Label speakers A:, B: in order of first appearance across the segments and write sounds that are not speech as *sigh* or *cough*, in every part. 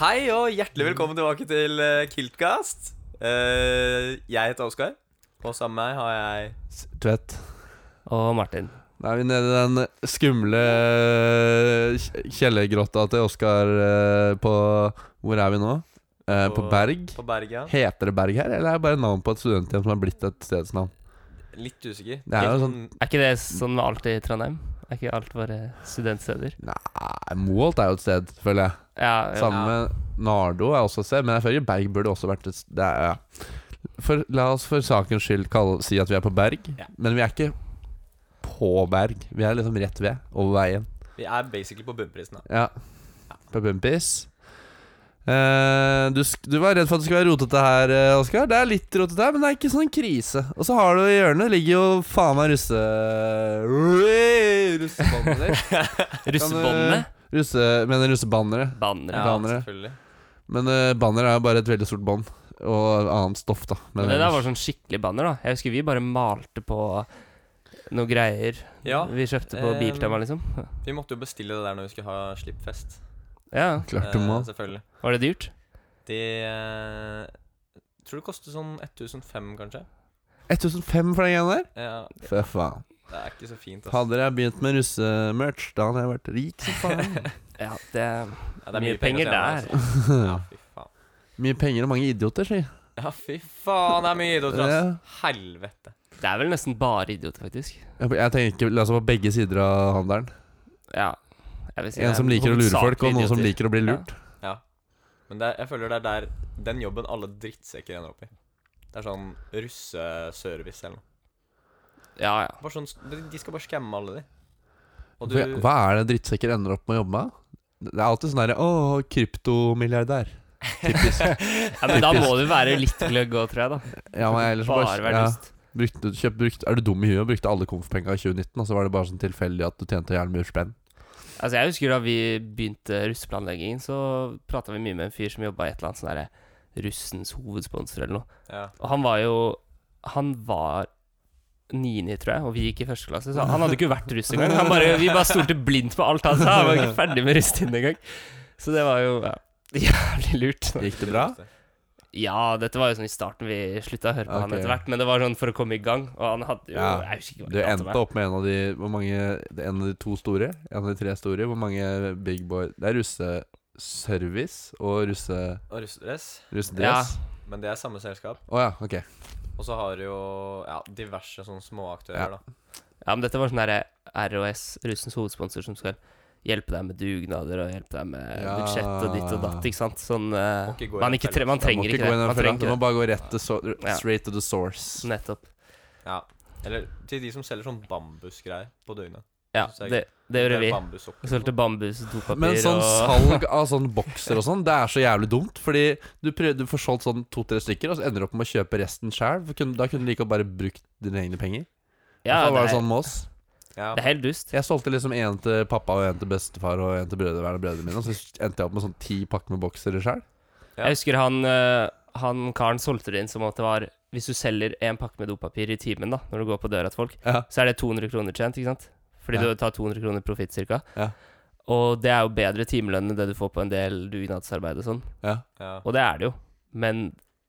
A: Hei og hjertelig velkommen tilbake til eh, Kiltcast. Eh, jeg heter Oskar, og sammen med meg har jeg
B: Tvedt.
C: Og Martin.
B: Da er vi nede i den skumle eh, kj- kjellergrotta til Oskar eh, på Hvor er vi nå? Eh, på
A: På-
B: Berg.
A: på Berga.
B: Heter det Berg her, eller er det bare navn på et studenthjem som har blitt et stedsnavn?
A: Litt usikker.
B: Det er jo
A: Kilten-
C: Er ikke det sånn med alt i Trondheim? Er ikke alt våre studentsteder?
B: Nei, Moholt er jo et sted, føler jeg.
C: Ja, ja.
B: Sammen med Nardo er også et sted, men jeg føler Berg burde også vært et sted. Ja. For, la oss for sakens skyld kalle, si at vi er på Berg,
A: Ja.
B: men vi er ikke på Berg. Vi er liksom rett ved, over veien.
A: Vi er basically på bunnprisen. da.
B: Ja. På Bumpis. Eh, du, sk- du var redd for at det skulle være rotete her, eh, Oskar. Det er litt rotete her, men det er ikke sånn krise. Og så har du i hjørnet ligger jo faen meg russe... Russebannere.
C: *laughs* Russebåndene?
B: Russe, mener russebannere.
C: Bannere.
B: Ja. Danere.
A: selvfølgelig.
B: Men eh, banner er jo bare et veldig stort bånd. Og annet stoff, da.
C: Men det der var sånn skikkelig banner, da. Jeg husker vi bare malte på noe greier
A: Ja,
C: vi kjøpte på
A: eh,
C: Biltema, liksom.
A: vi måtte jo bestille det der når vi skulle ha slippfest.
C: Ja,
B: Klart du
A: Eh,
B: må.
A: selvfølgelig.
C: Var det dyrt?
A: De eh, Tror det koster sånn 1005, kanskje.
B: 1005 for den greia der?
A: Ja,
B: Fy faen.
A: det er ikke så fint. *laughs* ass.
B: Hadde jeg begynt med russemerch, da hadde jeg vært rik som faen.
C: *laughs* Ja, det
A: Ja,
C: mye penger
A: å tjene,
C: der.
A: altså. Ja, fy faen.
B: Mye penger og mange idioter, si.
A: Ja, fy faen, det er mye idioter, ass.
B: Ja.
A: Helvete.
C: Det er vel nesten bare idioter, faktisk.
B: Jeg jeg tenker altså, på begge sider av handelen.
C: Ja. Jeg vil si det
B: En
C: er
B: som liker å lure folk, og
C: hovedsakelig
B: noen som
C: idioter.
B: liker å bli lurt.
A: Men det er, jeg føler det er der den jobben alle drittsekker ender opp i. Det er sånn russeservice eller noe.
C: Ja, ja.
A: Bare sånn, de, de skal bare skamme alle, de. Og du
B: For jeg- Hva er det drittsekker ender opp med å jobbe med? Det er alltid sånn derre Å, kryptomilliardær.
C: ja men da må du være litt gløgg òg, tror jeg, da.
B: Ja, men ellers
C: Bare
B: bare
C: være
B: ja,
C: dust.
B: brukte, kjøpt, brukt, Er du dum i huet og brukte alle konfpenga i 2019, og så var det bare sånn tilfeldig at du tjente gjerne mye spenn?
C: Altså Jeg husker da vi begynte russeplanleggingen, så prata vi mye med en fyr som jobba i et eller annet sånn derre russens hovedsponsor eller noe.
A: Ja.
C: Og han var jo Han var niende, tror jeg, og vi gikk i første klasse, så han hadde ikke vært russ engang. Han bare, vi bare stolte blindt på alt han sa, han var ikke ferdig med russetiden engang. Så det var jo ja, jævlig lurt.
B: Gikk det bra?
C: Ja, dette var jo sånn i starten vi slutta å høre på han
B: Ok.
C: etter hvert, men det var sånn for å komme i gang, og han hadde jo
B: Ja,
C: Jeg husker ikke hva
B: Du
C: han kalte
B: endte
C: meg.
B: opp med en av de Hvor mange En av de to store? En av de tre store? Hvor mange big boy Det er russeservice og russe,
A: Og russedress.
C: Ja,
B: russedress?
A: Men det er samme selskap.
B: Å ja, ok.
A: Og så har du jo ja, diverse sånne
B: Ja.
A: småaktører, da.
C: Ja, men dette var sånn derre ROS, russens hovedsponsor, som skal hjelpe deg med dugnader og hjelpe deg med
B: Ja.
C: budsjett og ditt og datt, ikke sant? Sånn eh,
A: Må ikke gå i
C: Man,
A: den
C: ikke
A: fella.
C: tre, man
B: Da må
C: trenger
B: ikke gå
C: ikke
B: inn
C: det.
B: i den fella.
C: Man
B: Du
C: trenger
B: må
C: ikke det.
B: bare gå rett til so
C: Ja.
B: straight to the source.
C: Nettopp.
A: Ja. Eller til de som selger sånn bambusgreier på døgnet.
C: Ja,
A: Så jeg-
C: det, det gjorde vi. Vi
A: Bambussokker.
C: solgte bambus, dopapir
B: Men sånn
C: og
B: salg av sånn bokser og sånn, det er så jævlig dumt. Fordi du, prøv, du får solgt sånn to-tre stykker, og så ender du opp med å kjøpe resten sjæl. Da kunne du like godt bare brukt dine egne penger. Hvorfor
C: Ja, det
B: var det
C: er,
B: sånn med oss?
A: Ja.
C: det er helt dust.
B: Jeg solgte liksom én til pappa og én til bestefar og én til brødre, hver av brødrene mine. Og så endte jeg opp med sånn ti pakker med boksere sjæl.
A: Ja.
C: Jeg husker han, eh, han karen solgte det inn som at det var Hvis du selger en pakke med dopapir i timen da når du går på døra til folk,
B: Ja.
C: så er det 200 kroner tjent, ikke sant? Fordi
B: Ja.
C: du tar 200 kroner profitt cirka.
B: Ja.
C: Og det er jo bedre timelønn enn det du får på en del dugnadsarbeid og sånn.
B: Ja.
A: Ja. *laughs*
C: Og det er det jo. Men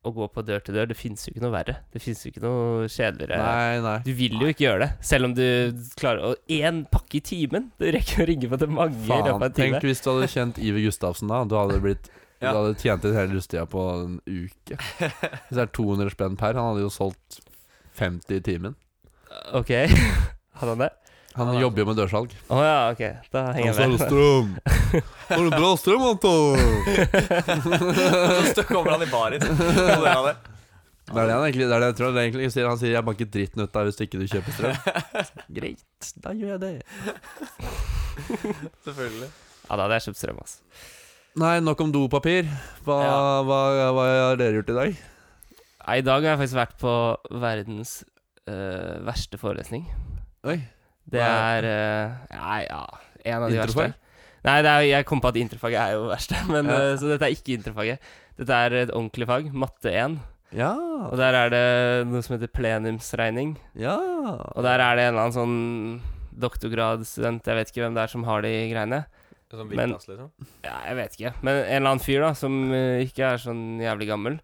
C: å gå på dør til dør, det fins jo ikke noe verre. Det fins jo ikke noe kjedeligere.
B: Nei, nei.
C: Du vil jo ikke gjøre det, selv om du klarer Og én pakke i timen! Du rekker å ringe på til mange i løpet av
B: Faen.
C: en time.
B: Tenk hvis du hadde kjent Iver Gustavsen da. Du hadde
C: *laughs*
B: blitt
A: Ja.
B: Du hadde tjent inn hele russetida på en uke. Hvis det er 200 spenn per, han hadde jo solgt 50 i timen.
C: Ok, hadde han det?
B: Han
A: Ja, da.
B: jobber jo med dørsalg.
C: Å ja, ok. Da henger jeg *laughs* med.
B: strøm. Har du bra strøm, Anton?
A: så kommer han i
C: *laughs*
A: baren. Og det er det.
B: Det er det han egentlig Det er det jeg tror han egentlig sier. Han sier 'jeg banker dritten ut av deg hvis ikke du kjøper strøm'. Greit, da gjør jeg det.
A: *laughs* Selvfølgelig.
C: Ja, da hadde jeg kjøpt strøm, altså.
B: *laughs* Nei, nok om dopapir. Hva,
C: Ja.
B: hva, hva har dere gjort i dag?
C: I dag har jeg faktisk vært på verdens øh, verste forelesning.
B: Oi.
C: Det
B: Hva
C: er øh, Nei, ja En av de
B: Introfag?
C: verste. Nei, det er, jeg kom på at interfaget er jo det verste, *laughs* men,
B: Ja.
C: øh, så dette er ikke interfaget. Dette er et ordentlig fag, matte 1,
B: Ja.
C: og der er det noe som heter plenumsregning.
B: Ja.
C: Og der er det en eller annen sånn doktorgradsstudent, jeg vet ikke hvem det er, som har de greiene.
A: Sånn
C: Men-
A: Vitas, liksom?
C: Ja, jeg vet ikke. Men en eller annen fyr da som eh, ikke er sånn jævlig gammel.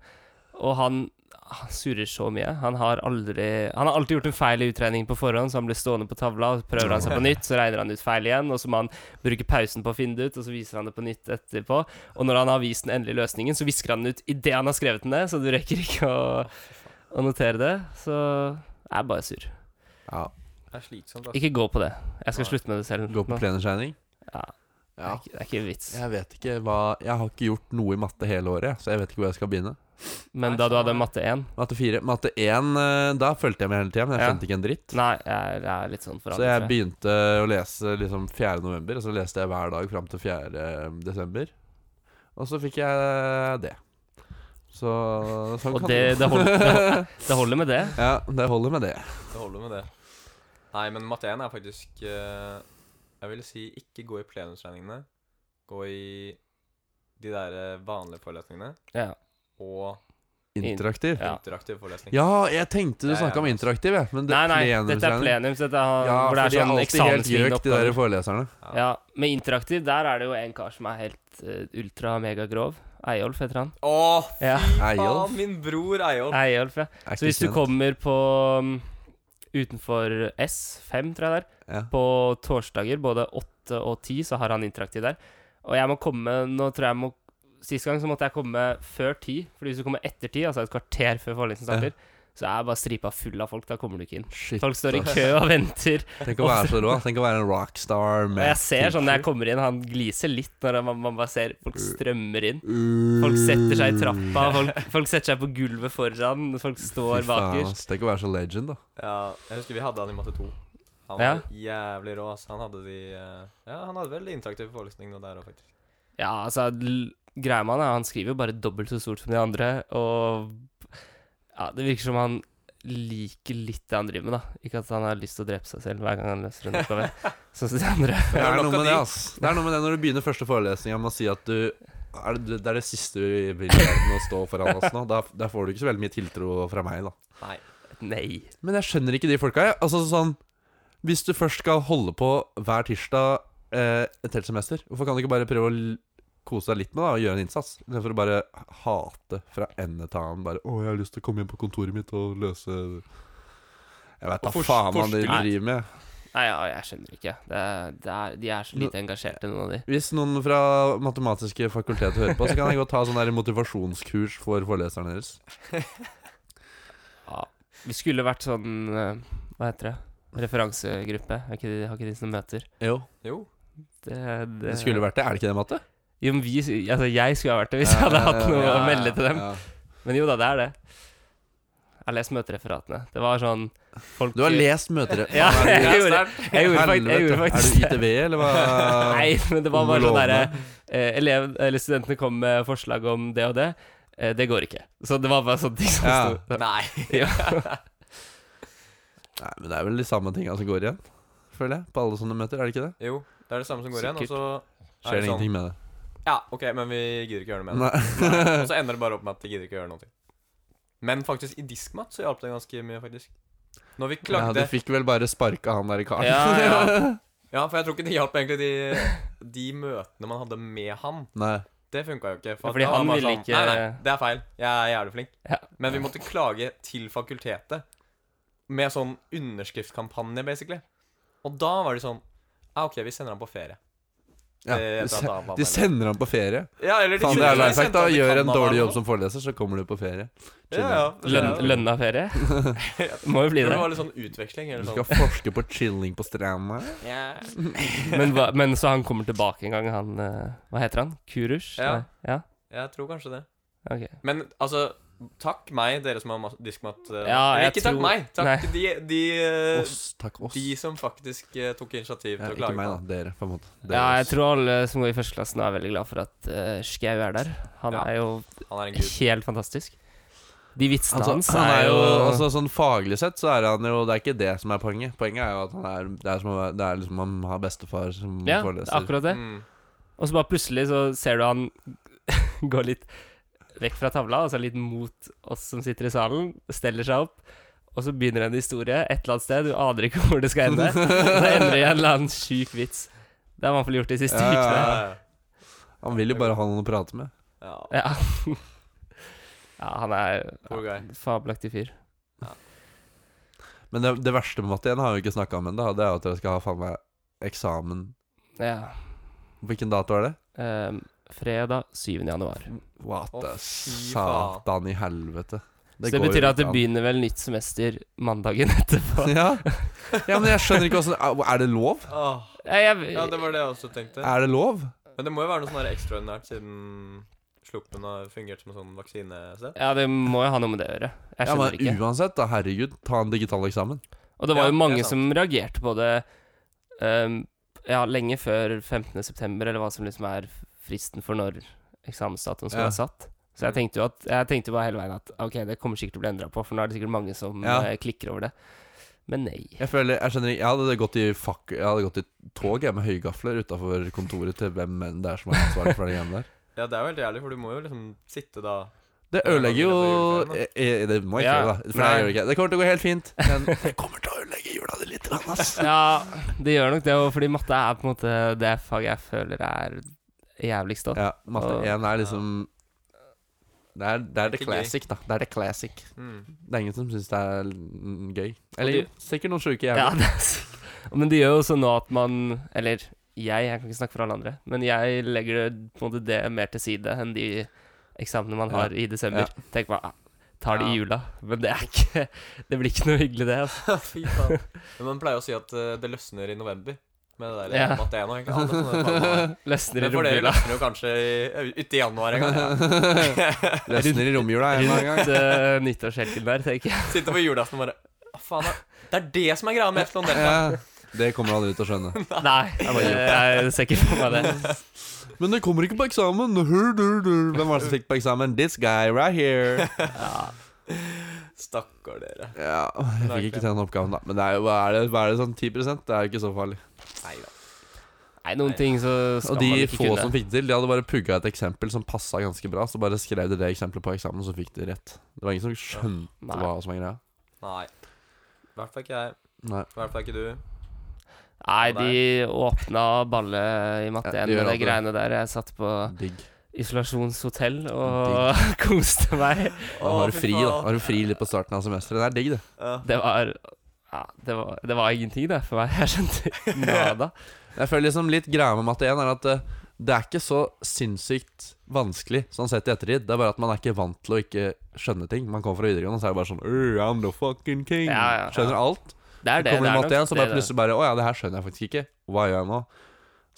C: Og han, han surrer så mye. Han har aldri Han har alltid gjort en feil i utregningen på forhånd, så han blir stående på tavla, og så prøver han seg på nytt, så regner han ut feil igjen, og så må han bruke pausen på å finne det ut, og så viser han det på nytt etterpå. Og når han har vist den endelige løsningen, så visker han den ut idet han har skrevet den ned, så du rekker ikke å, å notere det. Så jeg er bare sur.
B: Ja.
A: Det er slitsomt, altså.
C: Ikke gå på det. Jeg skal
A: Nei.
C: slutte med det selv.
B: Gå på
C: nå.
B: plenershining.
C: Ja. Det,
B: Ja.
C: er ikke, det er ikke vits.
B: Jeg vet ikke hva Jeg har ikke gjort noe i matte hele året, så jeg vet ikke hvor jeg skal begynne.
C: Men da du hadde matte 1
B: Matte 4. Matte 1, eh, da fulgte jeg med hele tida, men jeg
C: Ja.
B: skjønte ikke en dritt.
C: Nei, jeg er- jeg er litt sånn
B: Så
C: forandret.
B: jeg begynte å lese liksom 4. november, og så leste jeg hver dag fram til 4. desember. Og så fikk jeg det. Så sånn
C: Og
B: kan
C: det- det holder- det holder. Det holder med det.
B: Ja, det holder med det.
A: Det holder med det. Nei, men matte 1 er faktisk eh, Jeg vil si ikke gå i plenumsregningene. Gå i de der eh, vanlige forelesningene
C: Ja.
A: og
B: Interaktiv.
C: Ja.
A: interaktiv forelesning.
B: Ja, jeg tenkte du
A: Ja, ja.
B: snakka om interaktiv, jeg. Men det
C: Nei, nei, dette er
B: plenumsregning-
C: plenums. Dette
B: Ja,
C: er, hvor det
B: for
C: er
B: de er
C: sånn
B: alltid helt
C: eksamenslignende
B: gjøk, de der
C: oppgaver.
B: foreleserne.
C: Ja, med interaktiv, der er det jo en kar som er helt eh, ultra megagrov. Eyolf heter han.
A: Å, fy
C: Ja.
B: Eyolf?
A: faen! Min bror Eyolf.
C: Eyolf, ja.
B: Er
C: Så
B: ikke
C: hvis du
B: kjent.
C: kommer på mm, utenfor S5, tror jeg det er,
B: ja.
C: på torsdager, både 8 og 10, så har han interaktiv der. Og jeg må komme Nå tror jeg jeg må Sist gang så måtte jeg komme før 10, Fordi hvis du kommer etter 10, altså et kvarter før forelesningen
B: Ja.
C: starter, så er bare stripa full av folk. Da kommer du ikke inn.
B: Shit,
C: Folk står i
B: ass.
C: kø og venter.
B: Tenk å være så rå. Tenk å være en rockstar.
C: Og jeg ser sånn når jeg kommer inn, han gliser litt når man, man bare ser
B: Uh.
C: folk strømmer inn. Folk setter seg i trappa, folk, folk setter seg på gulvet foran, folk står bakerst.
B: Tenk å være så legend, da.
A: Ja, jeg husker vi hadde han i matte 2. Han
C: Ja.
A: var jævlig rå. ass. Han hadde de eh, Ja, han hadde vel interaktive forelesningene der òg, faktisk.
C: Ja, altså l- Greia med han er han skriver jo bare dobbelt så stort som de andre, og ja, det virker som han liker litt det han driver med, da. Ikke at han har lyst til å drepe seg selv hver gang han løser en oppgave,
B: *laughs*
C: sånn som de andre.
B: Det
A: er
B: er
A: nok
B: noe
A: av
B: med
A: de.
B: det, ass. Det er noe med det når du begynner første forelesning med å si at du er det, det er det siste du vil i verden å stå foran oss nå. Da, da får du ikke så veldig mye tiltro fra meg, da.
A: Nei.
C: *laughs* Nei.
B: Men jeg skjønner ikke de folka, jeg. Altså sånn Hvis du først skal holde på hver tirsdag eh, et helt semester, hvorfor kan du ikke bare prøve å l- kose deg litt med det og gjøre en innsats? Istedenfor å bare hate fra ende til annen. Bare 'Å, jeg har lyst til å komme inn på kontoret mitt og løse Jeg veit da
A: Og fors-
B: faen hva de
A: forske
C: litt.
B: driver med.
C: Nei, ja, jeg skjønner ikke. Det, er- det er, de er så lite engasjerte, noen av de.
B: Hvis noen fra matematiske fakultet hører på, så kan jeg godt ta sånn der motivasjonskurs for foreleserne deres.
C: Ja. Vi skulle vært sånn eh, Hva heter det? Referansegruppe. Er ikke de, har ikke de som møter?
B: Jo.
A: Jo.
C: Det,
B: Det skulle vært det. Er det ikke det, Matte?
C: Jo, men vi, altså, jeg skulle ha vært det hvis jeg hadde hatt noe
A: ja,
C: å
A: ja,
C: melde til dem.
B: Ja.
C: Men jo da, det er det. Jeg har lest møtereferatene. Det var sånn folk
B: Du har lest møtere.
C: Ja,
B: Faen, er du-
C: jeg gjorde, *laughs* jeg gjorde, fakt, jeg gjorde faktisk
B: Er du ITV, eller hva?
C: *laughs* Nei, men det var bare sånn derre
B: Lovende.
C: eh, elev, eller Studentene kom med forslag om det og det. Eh, det går ikke. Så det var bare sånne ting som
B: Ja.
C: sto
A: Nei.
C: Ja.
B: Nei, men det er vel de samme tinga som går igjen, føler jeg. På alle sånne møter, er det ikke det?
A: Jo, det er det samme som går igjen. Og så er
B: Skjer det
A: det sånn
B: ingenting med det.
A: Ja, OK, men vi gidder ikke gjøre noe med det.
B: Nei.
A: *laughs* Og så ender det bare opp med at de gidder ikke gjøre noe. Men faktisk, i diskmat så hjalp det ganske mye, faktisk. Når vi
B: Ja, du
A: klagde
B: fikk vel bare sparka han der i karen.
C: Ja,
B: *laughs*
C: ja.
A: Ja, for jeg tror ikke det hjalp egentlig de, de møtene man hadde med han.
B: Nei.
A: Det funka jo ikke.
C: Ja,
A: at
C: fordi han
A: var sånn,
C: ville ikke-
A: Nei, nei, det er feil. Jeg er jævlig flink.
C: Ja.
A: Men vi måtte klage til fakultetet med sånn underskriftskampanje, basically. Og da var de sånn Ja, OK, vi sender han på ferie.
B: Ja,
A: Det-
B: de,
A: da-
B: se-
A: da var
B: de
A: man-
B: sender ham på ferie.
A: Ja, eller de
B: Faen, det
A: sendte-
B: er
A: de
B: life hack,
A: sendte
B: da.
A: han til
B: Gjør en
A: Canada
B: dårlig
A: eller
B: jobb som foreleser, så kommer du på ferie.
A: noe. ja, ja.
C: Lønn, lønna
B: *laughs*
C: ferie. Må jo bli
A: Det
C: det.
A: var litt sånn utveksling.
B: Du
A: Eller
B: skal
A: sånn.
B: forske på chilling på stranda.
A: Ja.
C: Men, hva- men så han kommer tilbake en gang, han eh, Hva heter han? Kurush?
A: Ja.
C: Nei. ja?
A: Jeg tror kanskje det.
C: Ok.
A: Men altså Takk meg, dere som har mas- diskmat. eh,
C: Ja,
A: eller
C: jeg
A: ikke takk
C: tror-
A: meg. Takk
C: Nei.
A: de, de, *laughs* eh,
B: Oss, takk oss.
A: de som faktisk eh, tok initiativ
B: Ja,
A: til å
B: ikke
A: klage.
B: meg,
A: på
B: da.
A: han.
B: Dere, på en måte. Dere
C: Ja, jeg
B: oss.
C: tror alle som går i førsteklassen er veldig glad for at uh, Skau er der. Han
A: Ja.
C: er jo
A: Han er en gud.
C: helt fantastisk. De vitsene
B: Altså,
C: hans
B: han er jo altså, Sånn faglig sett så er han jo Det er ikke det som er poenget. Poenget er jo at han er Det er, som, å være- det er liksom han har bestefar som
C: Ja, det er
B: foreleser.
C: akkurat det.
A: Mm.
C: Og så bare plutselig så ser du han *laughs* går litt vekk fra tavla, altså litt mot oss som sitter i salen, steller seg opp, og så begynner en historie et eller annet sted, du aner ikke hvor det skal ende, og så ender det i en eller annen sjuk vits. Det har man i hvert fall gjort de siste
B: Ja, ja,
C: ukene.
B: ja. Han vil jo bare ha noen å prate med.
A: ja. ja.
C: Ja. *laughs* ja, han er
A: Poor guy.
C: en fabelaktig fyr.
B: Men det, det verste med matte 1 har vi jo ikke snakka om ennå. Det er jo at dere skal ha faen meg eksamen
C: Ja.
B: Hvilken dato er det?
C: Ehm, fredag 7. januar.
B: What
A: Å,
B: the
A: fy faen.
B: satan i helvete.
C: så det
B: går jo
C: betyr at
B: ikke
C: det
B: an.
C: begynner vel nytt semester mandagen *laughs* etterpå.
B: *laughs* ja. ja, men jeg skjønner ikke åssen er, er det lov?
A: Åh,
C: Ja, jeg,
A: ja, det var det jeg også tenkte.
B: Er det lov?
A: Men det må jo være noe sånn her ekstraordinært siden Sluppen har fungert som en sånn vaksinested.
C: ja, det må jo ha noe med det å gjøre. Jeg
B: Ja,
C: skjønner
B: men
C: ikke.
B: Uansett, da, herregud, ta en digital eksamen.
C: Og det var
A: Ja,
C: jo
A: det er
C: mange
A: sant.
C: som reagerte på det ehm, ja, lenge før 15. september, eller hva som liksom er fristen for når eksamensdatoen
B: Ja.
C: skal
B: Mm.
C: være satt. Så jeg tenkte jo at Jeg tenkte bare hele veien at ok, det kommer sikkert til å bli endra på, for nå er det sikkert mange som
B: Ja.
C: eh, klikker over det. Men nei.
B: Jeg føler, jeg skjønner ikke Jeg hadde gått i, fuck, jeg hadde gått i tog jeg, med høygafler utafor kontoret til hvem enn det er som er ansvarlig for det greiene der.
A: Ja, det er jo helt jævlig, for du må jo liksom sitte da
B: *laughs* Det
A: Ja,
B: ødelegger jo
A: det blir
B: eh, eh, Det må jeg ikke
C: Ja.
B: gjøre, da. For det,
C: Nei.
B: gjør det ikke. det kommer til å gå helt fint, *laughs* men det kommer til å ødelegge jula di litt, grann, ass.
C: *laughs* Ja, det gjør nok det, og fordi matte er på en måte det faget jeg føler er jævligst
B: *laughs*
C: òg.
B: Ja, matte
C: Og-
B: 1 er liksom det er, det er the
A: Ikke gøy.
B: classic, da. Det er the classic.
A: mm. *laughs*
B: Det er ingen som syns det er mm, gøy.
C: Og
B: Eller
C: du-
B: sikkert noen sjuke
C: Ja,
B: jævler.
C: det er sykt. Men det gjør jo også nå at man Eller jeg, jeg kan ikke snakke for alle andre, men jeg legger det- på en måte det mer til side enn de eksamene man har i desember. Tenk bare, ah, tar det i
A: Ja.
C: jula. Men det er ikke Det blir ikke noe hyggelig, det. Altså.
A: Fy faen. Men man pleier å si at eh, det løsner i november. Med det der
C: Ja.
A: ja. matte 1 og egentlig alle sånne faen meg.
C: Løsner i
A: Men for dere
C: romjula.
A: løsner jo kanskje i- uti januar en gang.
B: *laughs*
A: Ja. *laughs*
B: Løsner i romjula en *laughs* eller annen gang.
C: Rundt uh, nyttårshelgen der, tenker jeg.
A: Sitte på julaften og bare Å, faen, det er det som er greia med Eflon
B: *laughs*
A: Delta.
B: Ja, det kommer aldri til å skjønne.
C: Nei, jeg ser ikke for meg det.
B: Men det kommer ikke på eksamen! Hur, dur, dur. Hvem var det som fikk på eksamen? This guy right here.
C: Ja.
A: Stakkar dere.
B: *laughs* Ja, jeg fikk ikke til den oppgaven, da. Men det er jo, hva er det, hva er det sånn 10 Det er jo ikke så farlig.
A: Nei da.
C: Nei, noen ting så skal
B: Og de
C: man ikke
B: få
C: kunne.
B: som fikk det til, de hadde bare pugga et eksempel som passa ganske bra. Så bare skrev de det eksempelet på eksamen, og så fikk de rett. Det var ingen som skjønte
C: Nei.
B: hva som er greia.
A: Nei. I hvert fall ikke jeg.
B: Nei.
A: I hvert fall ikke du.
C: Nei, de åpna ballet i matte
B: Ja, de gjør
C: 1 med de
B: alltid det.
C: greiene der. Jeg satt på
B: Digg.
C: isolasjonshotell og *laughs* koste meg.
B: Da har du fri, da. Har du fri litt på starten av semesteret. Det er digg, det.
A: Ja.
C: Det var ja, det var, det var ingenting, det, for meg. *laughs* Jeg skjønte nada.
B: Jeg føler liksom litt greia med matte 1 er at eh, det er ikke så sinnssykt vanskelig sånn sett i ettertid. Det er bare at man er ikke vant til å ikke skjønne ting. Man kommer fra videregående, så er det bare sånn «Øh, I'm the fucking king.
C: Ja, ja, ja.
B: Skjønner alt.
C: Det er det.
B: kommer i
C: det er
B: matte 1, så
C: det
B: bare
C: det.
B: plutselig bare Å ja, det her skjønner jeg faktisk ikke. Hva gjør jeg nå?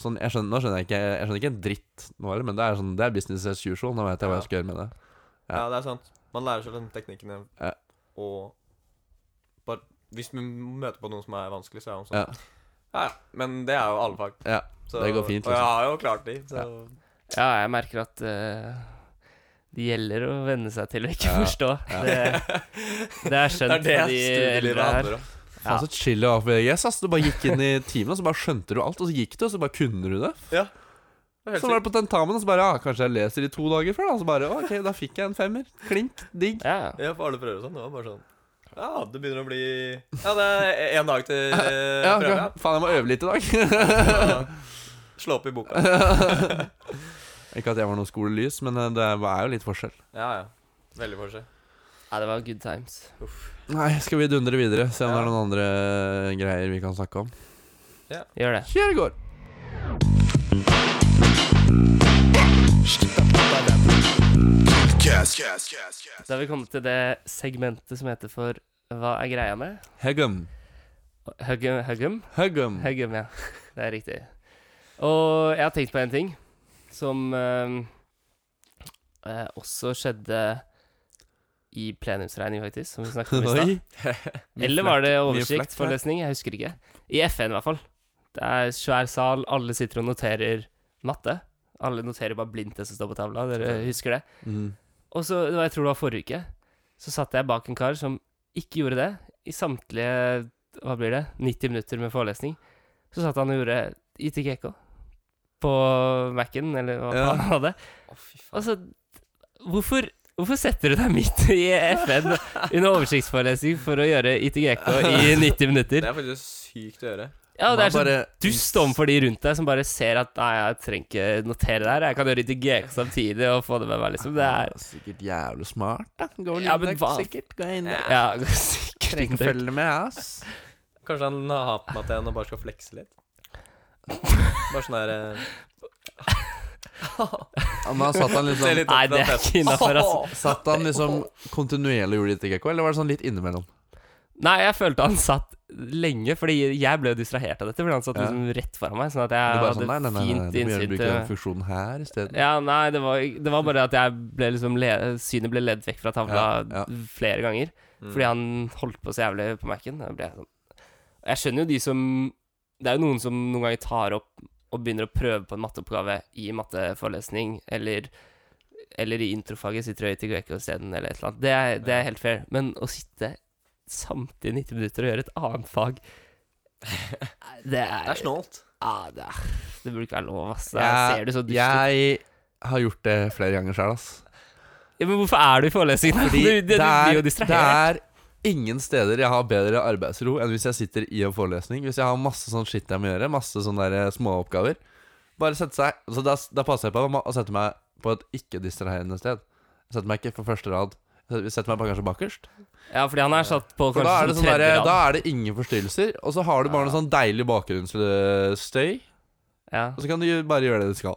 B: Sånn, jeg skjønner, nå skjønner jeg ikke Jeg skjønner ikke en dritt nå heller, men det er sånn Det er business as usual. Nå vet jeg hva jeg skal gjøre med det. Ja.
A: Ja, det er sant. Man lærer seg den teknikkene,
B: Ja.
A: og bare Hvis vi møter på noen som er vanskelig, så er man sånn
B: Ja,
A: Ja, ja. Men det er jo alle fag.
B: ja.
A: Så,
B: Det går fint, liksom.
A: Og jeg har jo klart de, så
C: Ja, jeg merker at eh, det gjelder å venne seg til å ikke
B: Ja,
C: forstå.
B: ja.
C: Det,
A: *laughs*
C: det er
A: Det
C: skjønt
A: er det
C: på de
A: studielivet
C: eldre her.
A: handler om.
B: Faen så chill det var på VGS. ass. Du bare gikk inn i timen, og så bare skjønte du alt. Og så gikk du, og så bare kunne du det.
A: Det er helt
B: Så var det på tentamen, og så bare ja, kanskje jeg leser i to dager før, da. Så bare ok, da fikk jeg en femmer. Klink, digg.
C: Ja.
A: sykt. Ja, for alle prøver og sånn. Det var bare sånn Ja, det begynner å bli Ja, det er *laughs* én dag til eh,
B: Ja,
A: prøve.
B: ok. Faen, jeg må øve litt i dag. *laughs*
A: *laughs* Ja. Slå opp i boka.
B: Ikke at jeg var noe skolelys, men eh, det er jo litt forskjell.
A: Ja, ja. Veldig forskjell.
C: ja, det var good times.
B: Nei, skal vi dundre videre? Se om det
A: Ja.
B: er noen andre eh, greier vi kan snakke om.
C: Gjør det.
B: Kjærgård.
C: Da har vi kommet til det segmentet som heter for Hva er greia med?
B: Heggum.
C: Huggum? Huggum?
B: Heggum.
C: Heggum, ja. Det er riktig. Og jeg har tenkt på en ting som ehm, eh, også skjedde i plenumsregning, faktisk, som vi snakket om i stad.
B: *laughs* Oi.
C: Eller var det
B: flert
C: oversikt
B: her.
C: for lesning? Jeg husker ikke. I FN, i hvert fall. Det er svær sal, alle sitter og noterer matte. Alle noterer bare blindt det som står på tavla, dere husker det?
B: Mm.
C: Og så, det var- jeg tror det var forrige uke, så satt jeg bak en kar som ikke gjorde det i samtlige, hva blir det, 90 minutter med forelesning. Så satt han og gjorde ITGK på Mac-en, eller hva
B: Ja.
C: faen han hadde.
A: Å, fy faen.
C: Og så, hvorfor, hvorfor setter du deg midt i FN under oversiktsforelesning for å gjøre ITGK i 90 minutter?
A: Det er faktisk sykt å gjøre.
C: Ja, og
B: Man
C: det er så
B: bare-
C: dust overfor de rundt deg som bare ser at Nei, jeg trenger ikke notere det her. Jeg kan gjøre litt i GK samtidig og få det med meg, liksom. Det er
B: Sikkert jævlig smart, da. Gå
C: Ja, men hva-
B: sikkert. Gå inn der.
C: Ja, *laughs* sikkert
B: Trenger ikke
C: ikke.
B: følge med,
C: *laughs*
B: ass.
A: Kanskje han har på meg at jeg nå bare skal flekse litt. Bare sånn der eh,
B: Ja, Men satt han
A: Se
B: liksom
A: litt
C: Nei,
A: opp fra
C: det er
A: testen.
C: ikke innafor,
B: *laughs*
C: altså.
B: Satt han liksom kontinuerlig og gjorde dette, Gekko, eller var det sånn litt innimellom?
C: Nei, jeg følte han satt lenge, fordi jeg ble jo distrahert av dette. Fordi han satt
B: Ja.
C: liksom rett foran meg, sånn at
B: Du
C: jeg
B: bare
C: hadde
B: sånn, nei, nei, nei, nei, du må
C: fint
B: gjerne
C: innsyn
B: bruke den
C: til
B: funksjonen her isteden.
C: ja, nei, det var, det var bare at jeg ble liksom le, synet ble ledd vekk fra tavla
B: Ja, ja.
C: flere ganger.
A: Mm.
C: Fordi han holdt på så jævlig på Mac-en. Da ble jeg sånn. Jeg skjønner jo de som Det er jo noen som noen ganger tar opp og begynner å prøve på en matteoppgave i matteforelesning, eller, eller i introfaget sitter høyt i GK isteden, eller et eller annet. Det er, det er helt fair. Men å sitte samtidig 90 minutter og gjøre et annet
B: *laughs*
C: fag Det er
A: Det er snålt.
C: Ja, det, er, det burde ikke være lov, ass. Det
B: Jeg-
C: ser du så dust ut.
B: Jeg har gjort det flere ganger sjøl, ass.
C: *laughs* Ja, men hvorfor er du i forelesningen?
B: Fordi
C: *laughs* du, du,
B: det,
C: du blir
B: er,
C: jo
B: det
C: distrahert.
B: er ingen steder jeg har bedre arbeidsro enn hvis jeg sitter i en forelesning. Hvis jeg har masse sånn shit jeg må gjøre, masse sånne der småoppgaver. Bare sette seg Så da, da passer jeg på å sette meg på et ikke-distraherende sted. Jeg setter meg ikke på første rad. Jeg setter meg på kanskje bakerst.
C: Ja, fordi han er satt på
B: For da er,
C: kanskje
B: det
C: sånn
B: sånn
C: tredje
B: der, da
C: rad.
B: er det ingen forstyrrelser, og så har du bare noe sånn deilig bakgrunnsstøy.
C: Ja.
B: Og så kan du jo bare gjøre det du skal.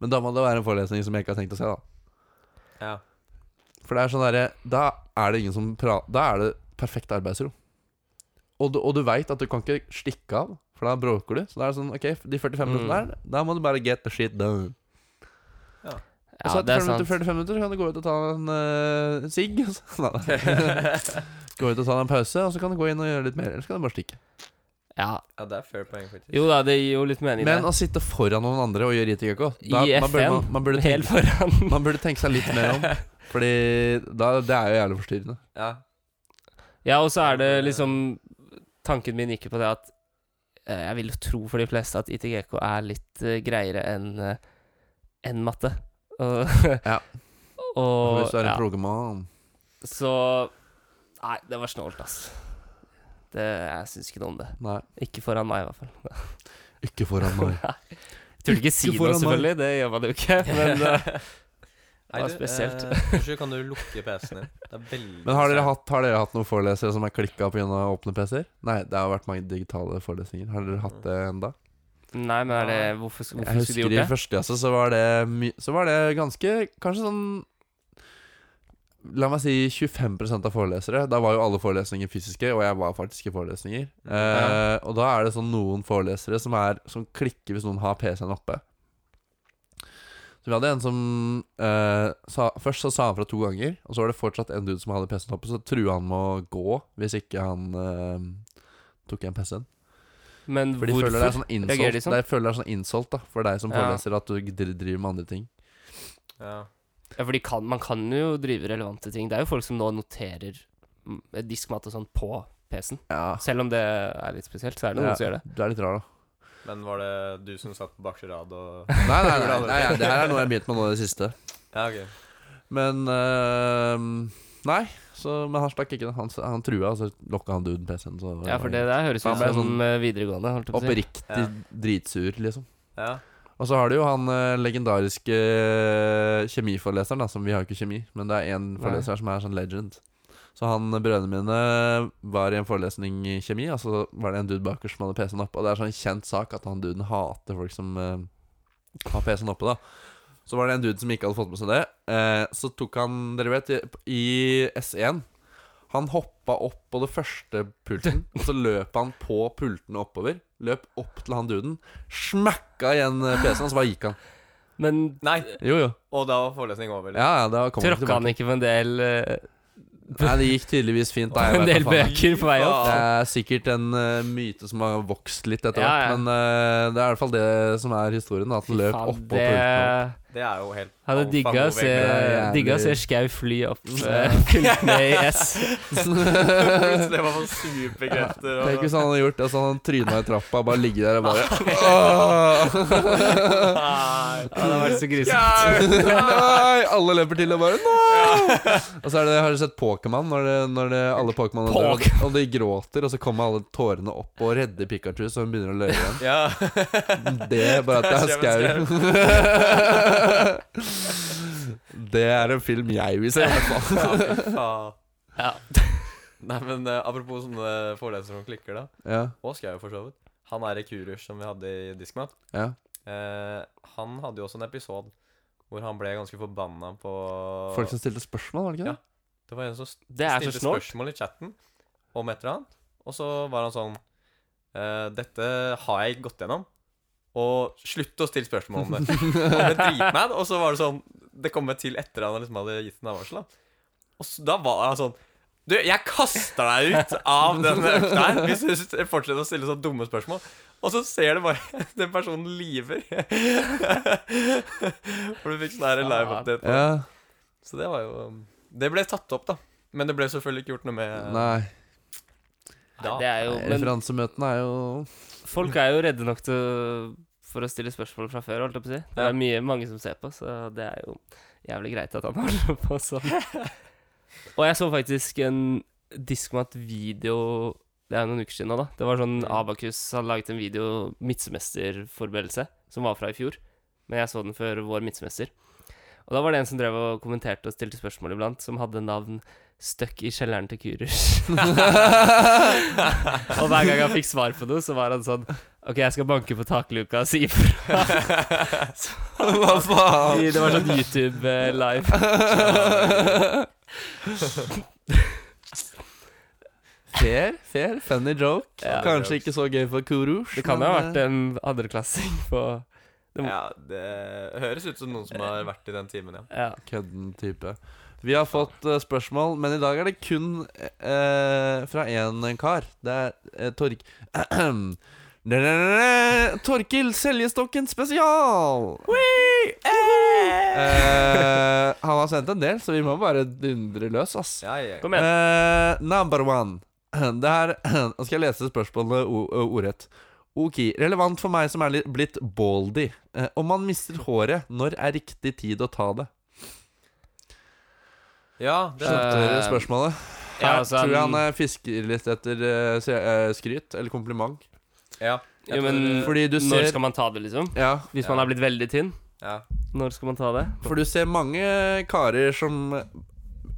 B: Men da må det være en forelesning som jeg ikke har tenkt å se, da.
A: Ja.
B: For det er sånn derre Da er det ingen som pra- Da er det perfekt arbeidsro. Og du, og du veit at du kan ikke stikke av, for da bråker du. Så da er det sånn OK, de 45 minuttene
C: Mm.
B: der, da må du bare get the shit done. og
C: Ja,
B: så
C: det
B: etter
C: er
B: 45 minutter, 45
C: sant.
B: minutter så kan Altså, du gå ut og ta en eh, sigg. og så- *laughs* Nei,
C: *laughs*
B: nei. gå ut og ta deg en pause, og så kan du gå inn og gjøre litt mer. Eller så kan du bare stikke.
C: Ja.
A: ja, det er fair poeng, faktisk.
C: Jo da, det gir jo litt mening,
B: Men altså,
C: det.
B: å sitte foran noen andre og gjøre itikako
C: I
B: man, burde-
C: FN,
B: man, man, burde
C: *laughs* Helt
B: tenke,
C: foran.
B: man burde tenke seg litt mer
C: *laughs*
B: om. Fordi da, det er jo jævlig forstyrrende.
A: Ja.
C: Ja, og så er det liksom Tanken min gikk jo på det at eh, Jeg vil jo tro for de fleste at ITGK er litt eh, greiere enn eh, enn matte. Og,
B: *laughs* Ja.
C: *laughs* og
B: Hvis du er en
C: ja.
B: progemann.
C: Så Nei, det var snålt, ass. Det, jeg syns ikke noe om det.
B: Nei,
C: Ikke foran meg, i hvert fall.
B: ikke foran meg.
C: Jeg turte ikke si
B: Ikke
C: noe,
B: foran meg.
C: selvfølgelig. Det gjør man jo ikke. *laughs* Men *laughs* eh,
A: *laughs* Nei,
C: var
A: du,
C: spesielt.
A: *laughs* eh, Kanskje kan du lukke PC-en din. Det er veldig
B: *laughs* Men har dere hatt, har dere hatt noen forelesere som er klikka pga. åpne PC-er? Nei, det har vært mange digitale forelesninger. Har dere hatt det enda?
C: Nei, men er det Hvorfor, sk-
B: Jeg
C: hvorfor skulle de
B: husker
C: gjort
B: i
C: det?
B: første klasse så var det my Så var det ganske Kanskje sånn La meg si 25 av forelesere. Da var jo alle forelesninger fysiske, og jeg var faktisk i forelesninger. Eh, og da er det sånn noen forelesere som, er, som klikker hvis noen har PC-en oppe. Så vi hadde en som eh, sa, Først så sa han fra to ganger, og så var det fortsatt en dude som hadde PC-en oppe, så trua han med å gå hvis ikke han eh, tok igjen PC-en.
C: Men
B: For de føler det er
C: hvorfor?
B: sånn
C: reagerer de
B: insult,
C: sånn?
B: de føler det er sånn insult da for deg som
C: Ja.
B: foreleser at du dri- driver med andre ting.
A: Ja.
B: sånn-
C: Ja, for de kan, man kan jo drive relevante ting. Det er jo folk som nå noterer mm, diskmat og sånn på PC-en.
B: Ja,
C: Selv om det er litt spesielt, så er det noen
B: Ah. Ja.
C: som gjør det.
B: Du er litt rar, da.
A: Men var det du som satt på bakre rad
C: *laughs*
A: og
B: *laughs* Nei, nei, nei, nei, nei det her er noe jeg har begynt med nå i det siste.
A: Ja, ok.
B: Men eh, Nei, så, men han stakk ikke. da. Han, s- han trua, og så lokka han duden PC-en. Så
C: Ja, for det der høres
B: Da
C: ut
B: ble jeg
C: som
B: sånn
C: eh, videregående, holdt jeg på å si.
B: Oppriktig dritsur, liksom.
A: Ja.
B: Og så har du jo han eh, legendariske eh, kjemiforeleseren, da, som vi har jo ikke kjemi, men det er én
C: Nei.
B: foreleser her som er sånn legend. Så han eh, brødrene mine var i en forelesning i kjemi, og så var det en dude bakerst som hadde PC-en oppe. Og det er sånn kjent sak at han duden hater folk som eh, har PC-en oppe, da. Så var det en dude som ikke hadde fått med seg det. Eh, så tok han, dere vet, i, i S1 han hoppa opp på det første pulten, og så løp han på pulten oppover. Løp opp til han duden, smakka igjen eh, PC-en, og så bare gikk han.
C: Men
A: Nei,
B: Jo, jo.
A: og da var forelesning over. liksom.
B: Ja, ja, da kom
C: tråkka han ikke på en del, eh,
B: Nei, det gikk tydeligvis fint. Nei,
C: *laughs* en
B: jeg vet
C: del
B: da faen.
C: bøker på vei opp?
B: Det er sikkert en eh, myte som har vokst litt etter
C: Ja,
B: hvert,
C: ja.
B: men eh, det er i hvert fall det som er historien. da, At han løp
C: Faen,
B: oppå
C: det
B: pulten. og-
A: Det er jo helt
C: Hadde
A: alfa
C: digga å
A: og
C: se,
A: *laughs* omega.
C: digga å se Skau fly opp eh,
B: *laughs*
C: *laughs* pultene i S.
A: Plutselig var man superkrefter. altså. og-
B: Tenk hvis han hadde gjort det, så hadde han tryna i trappa, bare *laughs* ligget der og
C: *laughs*
B: bare Åh! *laughs*
A: *laughs* Nei.
C: Ja, det hadde vært så
A: Skau!
C: grusomt.
B: Nei! Alle løper til og bare Nei! Og så er det, har du sett Pokémon, når, det, når det, alle Pokémon dør, og, og de gråter, og så kommer alle tårene opp og redder Pikachu, så hun begynner å løye igjen.
A: *laughs* Ja.
B: Det er bare at
A: *laughs*
B: det er skau. *laughs* Det er en film jeg vil se, i hvert fall.
A: Ja, fy faen.
C: Ja.
A: Nei, men eh, apropos sånne forelesere som klikker, da.
B: Ja,
A: Og Skau, for så vidt. Han er i Kurus som vi hadde i Diskmat.
B: ja.
A: Eh, han hadde jo også en episode hvor han ble ganske forbanna på
B: Folk som stilte spørsmål, var det ikke det?
A: Det var en som st-
C: Det er så
A: stilte
C: snålt.
A: spørsmål i chatten om et eller annet, og så var han sånn eh, Dette har jeg gått gjennom, og slutt å stille spørsmål
B: *laughs*
A: om det. Han ble dritmad, og så var det sånn Det kom et til etter han liksom hadde gitt en advarsel, da. Og så, da var han sånn du, jeg kaster deg ut av den økta her hvis du st- fortsetter å stille sånne dumme spørsmål. Og så ser du bare *laughs* den personen liver. *laughs* For du fikk sånn her live-update. på
B: Ja.
A: så det var jo um, Det ble tatt opp, da. Men det ble selvfølgelig ikke gjort noe med uh,
B: Nei.
A: da.
C: Det er jo, men
B: Referansemøtene er jo
C: *laughs* folk er jo redde nok til å- for å stille spørsmål fra før, holdt jeg på å si. Det
A: Ja.
C: er mye, mange som ser på, så det er jo jævlig greit at han *laughs* holder på sånn. Og jeg så faktisk en Diskmat-video Det er jo noen uker siden nå, da. Det var sånn Abakus hadde laget en video, midtsemesterforberedelse, som var fra i fjor. Men jeg så den før vår midtsemester. Og da var det en som drev og kommenterte og stilte spørsmål iblant, som hadde navn Stuck i kjelleren til *laughs* Kurers. og hver gang han fikk svar på noe, så var han sånn Ok, jeg skal banke på takluka og si ifra.
B: Hva faen?
C: Det var sånn YouTube-live.
B: Fair, fair, funny joke.
C: Ja.
B: Kanskje ikke så gøy for Kurush.
C: Det kan jo
B: men,
C: ha
B: eh,
C: vært en andreklassing på det-
A: *laughs* Ja, det høres ut som noen som har vært i den timen, ja.
C: Ja.
B: Kødden type. Vi har fått eh, spørsmål, men i dag er det kun eh, fra én kar. Det er eh, *clears throat* Torg... Torkil Seljestokken spesial! Eh, han har sendt en del, så vi må bare dundre løs, ass.
A: ja, ja.
C: Kom igjen.
B: Eh, number one. *clears throat* Det her Nå skal jeg lese spørsmålene o- ø, ordrett. Ok, relevant for meg som er litt- blitt baldy. Eh, om man mister håret, når er riktig tid å ta det?
A: ja det er, eh,
B: Skjønte dere spørsmålet?
C: Ja,
B: Her
C: altså,
B: tror jeg han
C: han-
B: eh, fisker litt etter eh, se- eh, skryt eller kompliment.
A: ja. Jeg
C: Jo, men
A: tror,
B: Fordi du
C: Når
B: ser
C: skal man ta det, liksom?
B: Ja,
C: Hvis
A: Ja.
C: man har blitt veldig tynn,
A: ja.
C: når skal man ta det?
B: for du ser mange karer som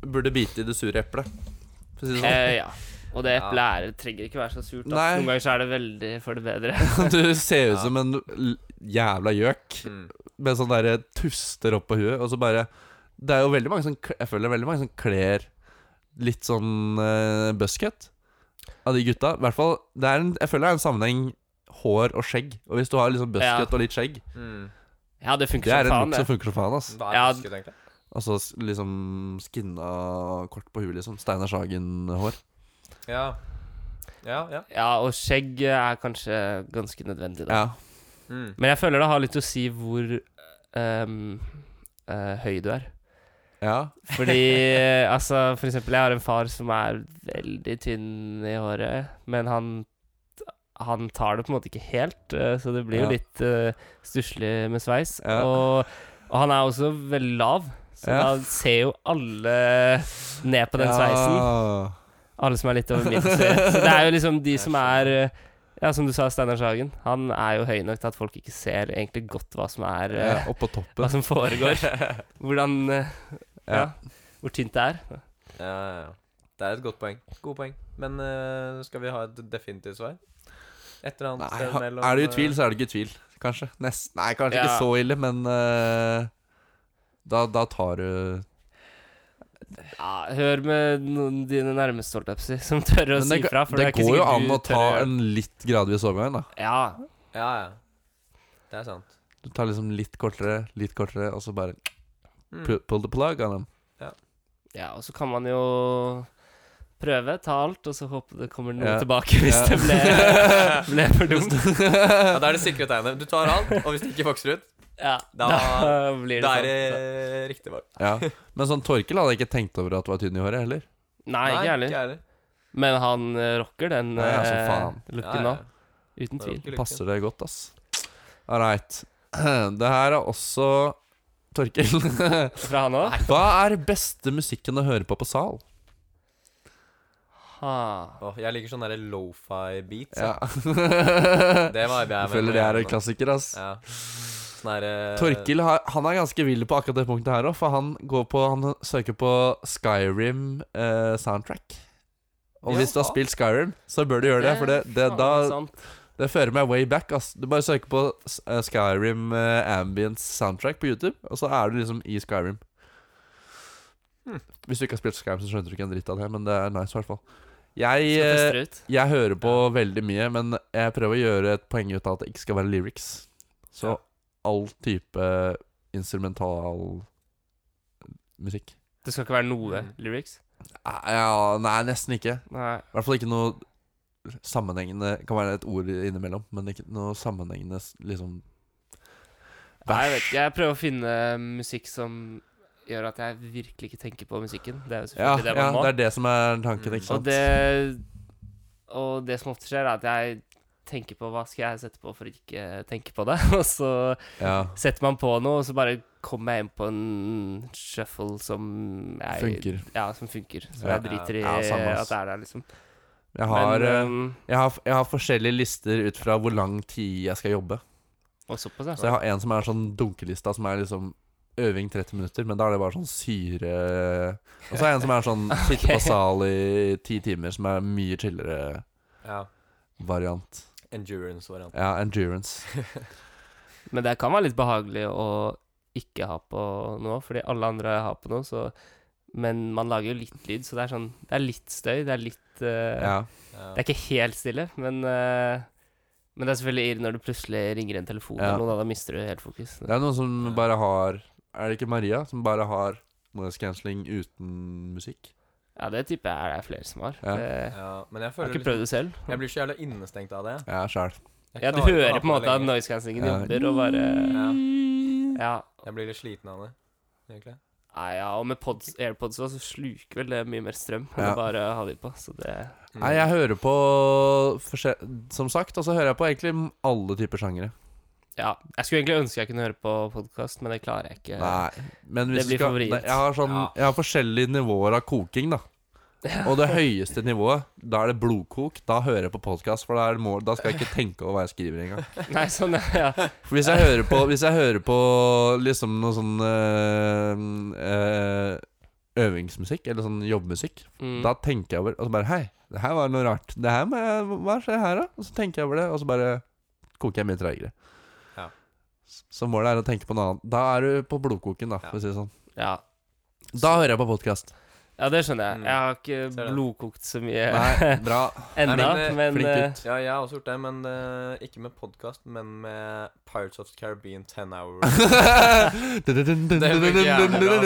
B: burde bite i det sure eplet. For å si det sånn.
C: Eh, ja. *laughs* Og det eplet er- trenger ikke være så surt. Da.
B: Nei.
C: Noen ganger så er det veldig for det bedre. *laughs*
B: *laughs* Du ser ut
A: Ja.
B: som en l- jævla gjøk.
A: Mm.
B: med sånn derre tuster opp på huet, og så bare Det er jo veldig mange som kl- Jeg føler det er veldig mange som kler litt sånn uh, buzzcut av de gutta. I hvert fall det er en, Jeg føler det er en sammenheng hår og skjegg. Og hvis du har liksom
C: Ja.
B: buzzcut og litt skjegg,
A: Mm.
C: Ja, det funker
B: det er
C: som
B: en
C: faen,
B: look som
C: det.
B: funker som faen, ass.
A: Da er
C: Ja,
A: det skutt, egentlig.
B: Altså s- liksom skinna kort på huet, liksom. Steinar Sagen-hår.
A: Ja. Ja, ja.
C: Ja, og skjegg er kanskje ganske nødvendig, da.
B: Ja.
A: Mm.
C: Men jeg føler det har litt å si hvor ehm, eh, høy du er.
B: ja.
C: Fordi eh, altså, for eksempel, jeg har en far som er veldig tynn i håret, men han han tar det på en måte ikke helt, eh, så det blir
B: Ja.
C: jo litt uh, stusslig med sveis.
B: Ja.
C: Og, og han er også veldig lav, så
B: Ja.
C: da ser jo alle ned *laughs* på den sveisen. Alle som er litt over middels høye. Så det er jo liksom de
A: Jeg
C: som er eh, Ja, som du sa, Steinar Sagen. Han er jo høy nok til at folk ikke ser egentlig godt hva som er eh,
B: Ja, Oppå
C: Hva
B: toppen.
C: som
B: *laughs*
C: foregår. Hvordan eh,
B: Ja.
C: ja. Hvor tynt det er.
A: ja, ja, ja. Det er et godt poeng. Godt poeng. Men eh, skal vi ha et definitivt svar? Et eller annet
B: Nei,
A: sted
B: ha-
A: mellom
B: er du i
A: eh,
B: tvil, så er du ikke i tvil. Kanskje. Nest, nei, kanskje
C: Ja.
B: ikke så ille, men eh, da, da tar du
C: Ja, hør med noen dine nærmeste, holdt jeg på å si, som tør å
B: Men
C: si
B: det,
C: fra. For
B: det
C: det, er ikke
B: går jo
C: sikkert
B: an
C: du
B: å ta
C: tør gjøre det.
B: en litt gradvis overgang, da.
C: Ja.
A: Ja, ja. Det er sant.
B: Du tar liksom litt kortere, litt kortere, og så bare
A: Mm.
B: pu- pull the plug on them.
C: ja, og så kan man jo prøve, ta alt, og så håpe det kommer noe
B: Ja.
C: tilbake hvis
B: Ja.
C: det ble, ble for dumt.
B: *laughs*
A: Ja, det er det sikre tegnet. Du tar alt, og hvis det ikke vokser ut,
C: Ja, da,
A: Da-
C: blir det
A: Da er
C: sånn.
A: det riktig varmt.
C: *laughs*
B: Ja. Men sånn Torkel hadde jeg ikke tenkt over at var tynn i håret heller.
C: Nei, ikke jeg heller.
A: heller.
C: Men han eh, rocker den
B: Nei, altså,
C: eh,
B: faen.
C: looken nå. Uten tvil.
B: Passer det godt, ass. All right. *clears throat* Det her er også Torkel.
C: Fra han òg?
B: *laughs* Hva er beste musikken å høre på på sal?
A: Åh, jeg liker sånne der lo-fi beats.
B: Ja. *laughs*
A: jeg. Det var jeg
B: Jeg
A: med
B: føler
A: på
B: det er
A: nå.
B: en klassiker, ass.
A: Ja. Sånn der, eh,
B: Torkil har, han er ganske vill på akkurat det punktet her òg, for han, går på, han søker på Skyrim eh, soundtrack. Og
A: Ja.
B: hvis du har spilt Skyrim, så bør du gjøre det, for det, det, da,
C: sant.
B: det fører meg way back. Ass. Du bare søker på s- eh, Skyrim eh, ambience soundtrack på YouTube, og så er du liksom i Skyrim.
A: Hmm.
B: Hvis du ikke har spilt Skyrim, så skjønner du ikke en dritt av det, men det er nice i hvert fall. Jeg,
C: Skal
B: eh,
C: teste det ut.
B: jeg hører på veldig mye, men jeg prøver å gjøre et poeng ut av at det ikke skal være lyrics. Så
A: Ja.
B: all type eh, instrumental musikk.
C: Det skal ikke være noe
A: Mm.
C: lyrics?
B: Ah, Ja, nei, nesten ikke.
C: Nei.
B: I hvert fall ikke noe sammenhengende Kan være et ord innimellom, men ikke noe sammenhengende s- liksom
C: Nei, jeg vet ikke. Jeg prøver å finne musikk som gjør at jeg virkelig ikke tenker på musikken. Det er jo
B: Ja,
C: selvfølgelig det
B: ja,
C: man må.
B: det er det som er tanken,
A: Mm.
B: ikke sant?
C: og, det, og det som ofte skjer, er at jeg tenker på hva skal jeg sette på for å ikke tenke på det. *laughs* Og så
B: ja.
C: setter man på noe, og så bare kommer jeg inn på en shuffle som jeg,
B: Funker.
C: Ja, som funker. Så
B: Ja.
C: jeg driter i
B: Ja, samme, ass.
C: at det er der, liksom.
B: Jeg har, eh,
C: Men, um,
B: jeg, har, jeg har forskjellige lister ut fra hvor lang tid jeg skal jobbe.
C: og såpass,
B: Så jeg har en som er sånn dunkelista, som er liksom øving 30 minutter, men da er det bare sånn syre eh, Og så har jeg en som er
C: *laughs*
B: sånn sitte på sal i ti timer, som er mye chillere
A: Ja.
B: variant.
A: Endurance-variant.
B: Ja, endurance.
C: Men det kan være litt behagelig å ikke ha på noe, fordi alle andre har på noe, så Men man lager jo litt lyd, så det er sånn Det er litt støy, det er litt eh,
B: Ja.
A: Ja.
C: Det er ikke helt stille, men eh, men det er selvfølgelig irr når du plutselig ringer en telefon
B: Ja.
C: eller noe, da, da mister du helt fokus.
B: Det er noen som bare har Er det ikke Maria som bare har noise cancelling uten musikk?
C: Ja, det tipper jeg er det flere som har.
B: Ja.
C: Det,
A: Ja, men jeg
C: jeg har
A: føler
C: ikke prøvd det selv.
A: liksom- Jeg blir så jævla innestengt av det.
B: Ja, sjæl.
A: Jeg
C: Ja,
A: klarer
C: du
A: ikke å
C: hører
A: ha
C: på en måte
A: det
C: at
A: lenger.
C: noise cancellingen
B: Ja.
C: jobber, og bare
B: Ja.
C: Ja.
A: Jeg blir litt sliten av det, egentlig.
C: Nei, ja, og med pods, AirPods også, så sluker vel det mye mer strøm enn
B: Ja.
C: å bare ha de på, så det
B: Nei, jeg hører på forskjell- Som sagt, og så hører jeg på egentlig alle typer sjangere.
C: Ja, jeg skulle egentlig ønske jeg kunne høre på podkast, men det klarer jeg ikke.
B: Nei, men hvis
C: Det blir
B: du skal,
C: favoritt.
B: nei, jeg, har sånn,
A: Ja.
B: jeg har forskjellige nivåer av koking, da. Og det høyeste nivået, da er det blodkok. Da hører jeg på podkast, for da, er det mål, da skal jeg ikke tenke over hva jeg skriver engang.
C: *laughs* Nei, sånn, ja.
B: For hvis jeg hører på, hvis jeg hører på liksom noe sånn eh, eh, øvingsmusikk, eller sånn jobbmusikk,
C: Mm.
B: da tenker jeg over Og så bare Hei, det her var noe rart. Det her må jeg Hva skjer her, da? Og så tenker jeg over det, og så bare koker jeg mye treigere.
A: Ja.
B: Så målet er å tenke på noe annet. Da er du på blodkoken, da, for å si det sånn.
C: ja.
B: Da hører jeg på podkast.
C: ja, det skjønner jeg.
A: Mm.
C: Jeg har ikke
A: Ser det.
C: blodkokt så mye *laughs*
B: Nei, bra.
C: ennå,
A: Nei, men,
C: men
B: flink
C: eh,
B: gutt.
A: Mm. Ja, jeg har også gjort det, men eh, ikke med podkast, men med Pirates of the Caribbean 10 Hour.
B: *laughs*
A: funker jævlig bra,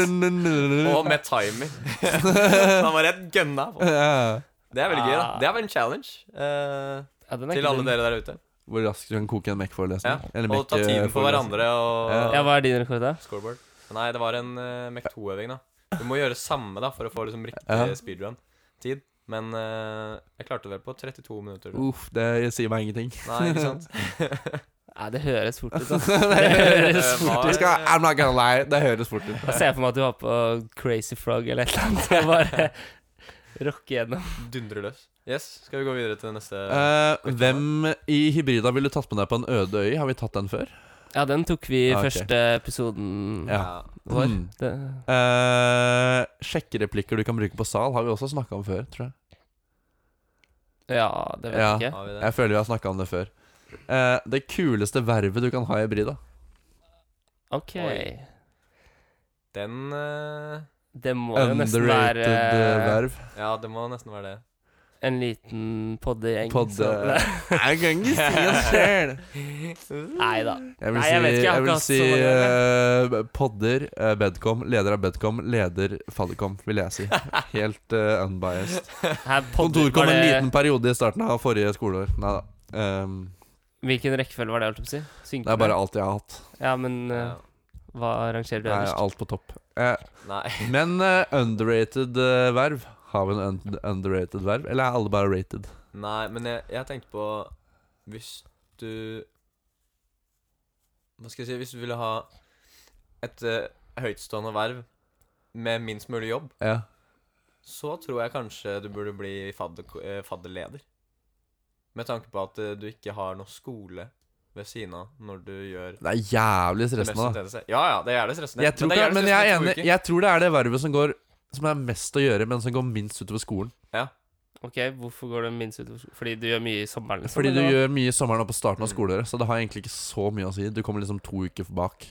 A: Og
B: *laughs*
A: med *laughs* timer. Han var rett gønna på.
B: Ja.
A: Det er veldig gøy, da.
C: Ah.
A: Det er vel en challenge eh,
C: ja, den er
A: til
C: ikke
A: alle
C: dum.
A: dere der ute.
B: Hvor raskt du kan koke en
A: Ja.
B: Mac-forelesning. Eller eh,
A: Og ta tiden på
B: Mac-forelesning.
A: hverandre og
B: Ja.
C: Ja, hva er din rekord, da?
A: scoreboard. Nei, det var en uh, Mech 2-øving, da. Du må gjøre samme da for å få liksom riktig
B: Ja.
A: speedrun-tid. Men eh, jeg klarte vel på 32 minutter. tror jeg.
B: Uff, det sier meg
C: *laughs*
B: ingenting.
A: Nei, ikke sant? *laughs*
C: Nei, det høres fort ut, da. Det
B: det
C: høres fort
A: var-
C: ut. Altså,
B: skal, I'm not gonna lie. Det høres fort ut.
C: Da ser jeg for meg at du har på Crazy Frog eller et eller annet, og bare *laughs* rocke gjennom.
A: Dundrer løs. Yes, skal vi gå videre til neste
B: Eh, hvem i Hybrida ville du tatt med deg på en øde øy? Har vi tatt den før?
C: Ja, den tok vi i
B: Ja, ok.
C: første episoden
B: Ja.
C: vår.
B: Mm.
C: Det,
B: Eh, sjekkereplikker du kan bruke på sal, har vi også snakka om før, tror jeg.
C: ja, det vet
B: Ja.
C: jeg ikke.
A: Har vi det?
B: Jeg føler vi har snakka om det før. Eh, det kuleste vervet du kan ha i Hybrida?
C: Ok.
A: Oi. Den eh,
C: Det må jo nesten
B: Underrated
C: være
B: eh,
C: *laughs*
B: verv.
A: Ja, det må nesten være det.
C: en liten poddegjeng.
B: Podde-
C: som-
B: *laughs* Jeg kan
C: *laughs*
B: ikke si det sjøl.
C: Nei da.
B: Jeg vil
C: Nei,
B: si,
C: jeg
B: jeg
C: vet ikke, jeg har ikke
B: vil
C: hatt så
B: si
C: mange
B: eh, podder, eh, Bedcom, leder av Bedcom, leder Faddercom, vil jeg
C: *laughs*
B: si. Helt eh, unbiased.
C: Her podder
B: Kontor kom
C: var
B: en
C: det-
B: liten periode i starten av forrige skoleår. Nei da.
C: Hvilken rekkefølge var det? holdt jeg på å si?
B: Ehm, Det er
C: Synkende?
B: bare alt jeg har hatt.
C: Ja, men eh,
A: Ja.
C: hva rangerer du
B: Det er
C: øverst?
B: alt på topp. Eh,
A: Nei.
B: men eh, underrated eh, verv. Har vi en un underrated verv, eller er alle bare rated?
A: Nei, men jeg, jeg tenkte på Hvis du Hva skal jeg si Hvis du ville ha et eh, høytstående verv med minst mulig jobb,
B: Ja.
A: så tror jeg kanskje du burde bli fadder, eh, fadderleder. Med tanke på at eh, du ikke har noe skole ved siden av når du gjør
B: Det er jævlig
A: det mest
B: stressende, da.
A: intense. Ja, ja, det er det stressende.
B: Jeg tror
A: det
B: ikke,
A: jævlig
B: men jeg er
A: stressende
B: enig
A: to uker.
B: Jeg tror det er det vervet som går Som er mest å gjøre, men som går minst utover skolen.
C: Ok, hvorfor går det minst ut? Fordi du gjør mye i sommeren? Liksom,
B: Fordi du
C: eller hva?
B: gjør mye i sommeren og på starten av
A: Mm.
B: skoleåret, så det har egentlig ikke så mye å si. Du kommer liksom to uker bak.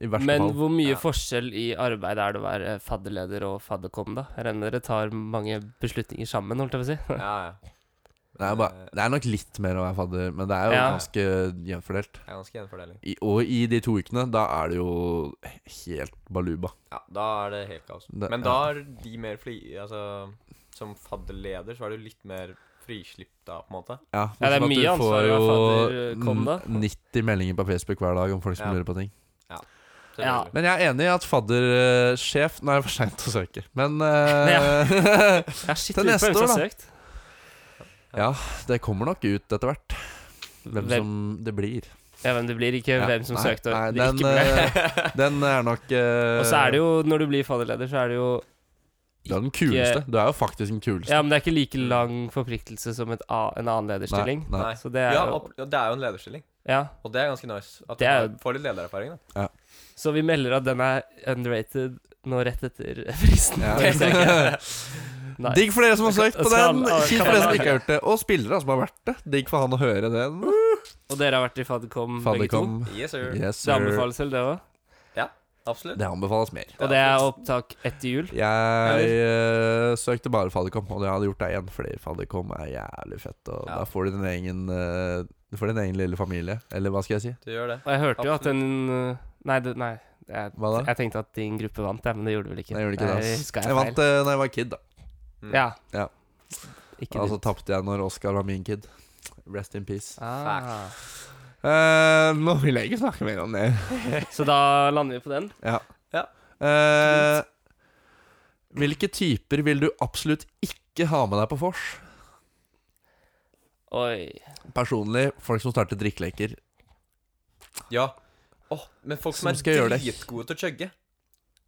B: I verste
C: Men
B: fall.
C: hvor mye
A: Ja.
C: forskjell i arbeid er det å være fadderleder og fadderkom, da? Jeg regner dere tar mange beslutninger sammen, holdt jeg
B: *laughs*
C: på å
A: Ja, Eh,
C: si.
A: ja.
B: Det er, bare, det er nok litt mer å være fadder, men det er jo
C: Ja.
B: ganske jevnfordelt.
A: Det liksom. er ganske gjenfordeling.
B: I, og i de to ukene, da er det jo helt baluba.
A: Ja, da er det helt kaos.
B: Det-
A: Men
B: ja.
A: da er de mer fri... Altså, som fadderleder så er du litt mer frislipp da, på en måte.
B: Ja,
C: Ja, det er
B: bortsett fra at
C: mye
B: du
C: ansvar
B: får
C: å være
B: jo
C: fadder, kom da.
B: 90 meldinger på Facebook hver dag om folk som
A: Ja.
B: lurer på ting.
C: Ja.
A: Selvfølgelig.
B: Men jeg er enig i at faddersjef Nå er det for seint å søke, men eh,
C: Ja, shit,
B: Til
C: lurer på
B: neste
C: hvem som
B: år,
C: har søkt.
B: *laughs* Det kommer nok ut etter hvert. Hvem,
C: Hvem-
B: som det blir.
C: Ja, hvem det blir, ikke
B: Ja,
C: hvem som
B: nei,
C: søkte
B: nei, eh,
C: og det
B: den,
C: ikke ble.
B: eh, den er nok
C: Og så er det jo, når du blir fadderleder, så er det jo
B: Du er den kuleste. Du er jo faktisk den kuleste.
C: Ja, men det er ikke like lang forpliktelse som et, a- en annen lederstilling.
B: Mm. Nei,
A: Nei.
B: nei.
C: Så det er
A: Ja,
C: jo
A: og, ja, det er jo en lederstilling,
C: Ja.
A: og det er ganske nice. At
C: Det er
A: du
C: jo-
A: har- får litt ledererfaring, da.
C: Så vi melder at den er underrated nå rett etter *laughs* fristen.
B: Ja.
C: Det ser jeg ikke.
B: *laughs*
C: Nei.
B: Digg for dere som har
C: Skal-
B: søkt på
C: skal
B: den!
C: alle-
B: Kjipt for dere som ikke har hørt det. Og spillere som har vært det. Digg for han å høre den.
C: Og dere har vært i Faddercom begge to.
B: Fadderkom.
A: Yes, sir.
B: Yes,
C: Det
B: sir.
C: anbefales vel, det òg.
A: Absolutt.
B: Det anbefales mer.
C: Og det er opptak etter jul.
B: Jeg eh, søkte bare Fadderkom, og jeg hadde gjort det igjen, fordi Fadderkom er jævlig fett. Og
A: Ja.
B: da får du din egen eh, Du får din egen lille familie. Eller hva skal jeg si?
A: Du gjør det.
C: Og jeg hørte jo at den Nei, det, nei. Jeg,
B: Hva da?
C: jeg tenkte at din gruppe vant, jeg, men det gjorde vel ikke.
B: Nei, jeg gjorde ikke det,
C: Nei,
B: ass.
C: husker
B: Jeg vant
C: feil.
B: det da jeg var kid, da.
A: Mm.
C: Ja.
B: Ja. Altså,
C: Ikke
B: Og så
C: din.
B: tapte jeg når Oscar var min kid. Rest in peace.
C: Ah.
B: Eh, nå vil jeg ikke snakke mer om det.
C: Så da lander vi på den.
B: Eh, hvilke typer vil du absolutt ikke ha med deg på vors?
C: Oi.
B: Personlig, folk som starter drikkeleker.
A: Ja. Åh, men folk som,
B: Som skal gjøre
A: er
B: det.
A: dritgode til å chugge.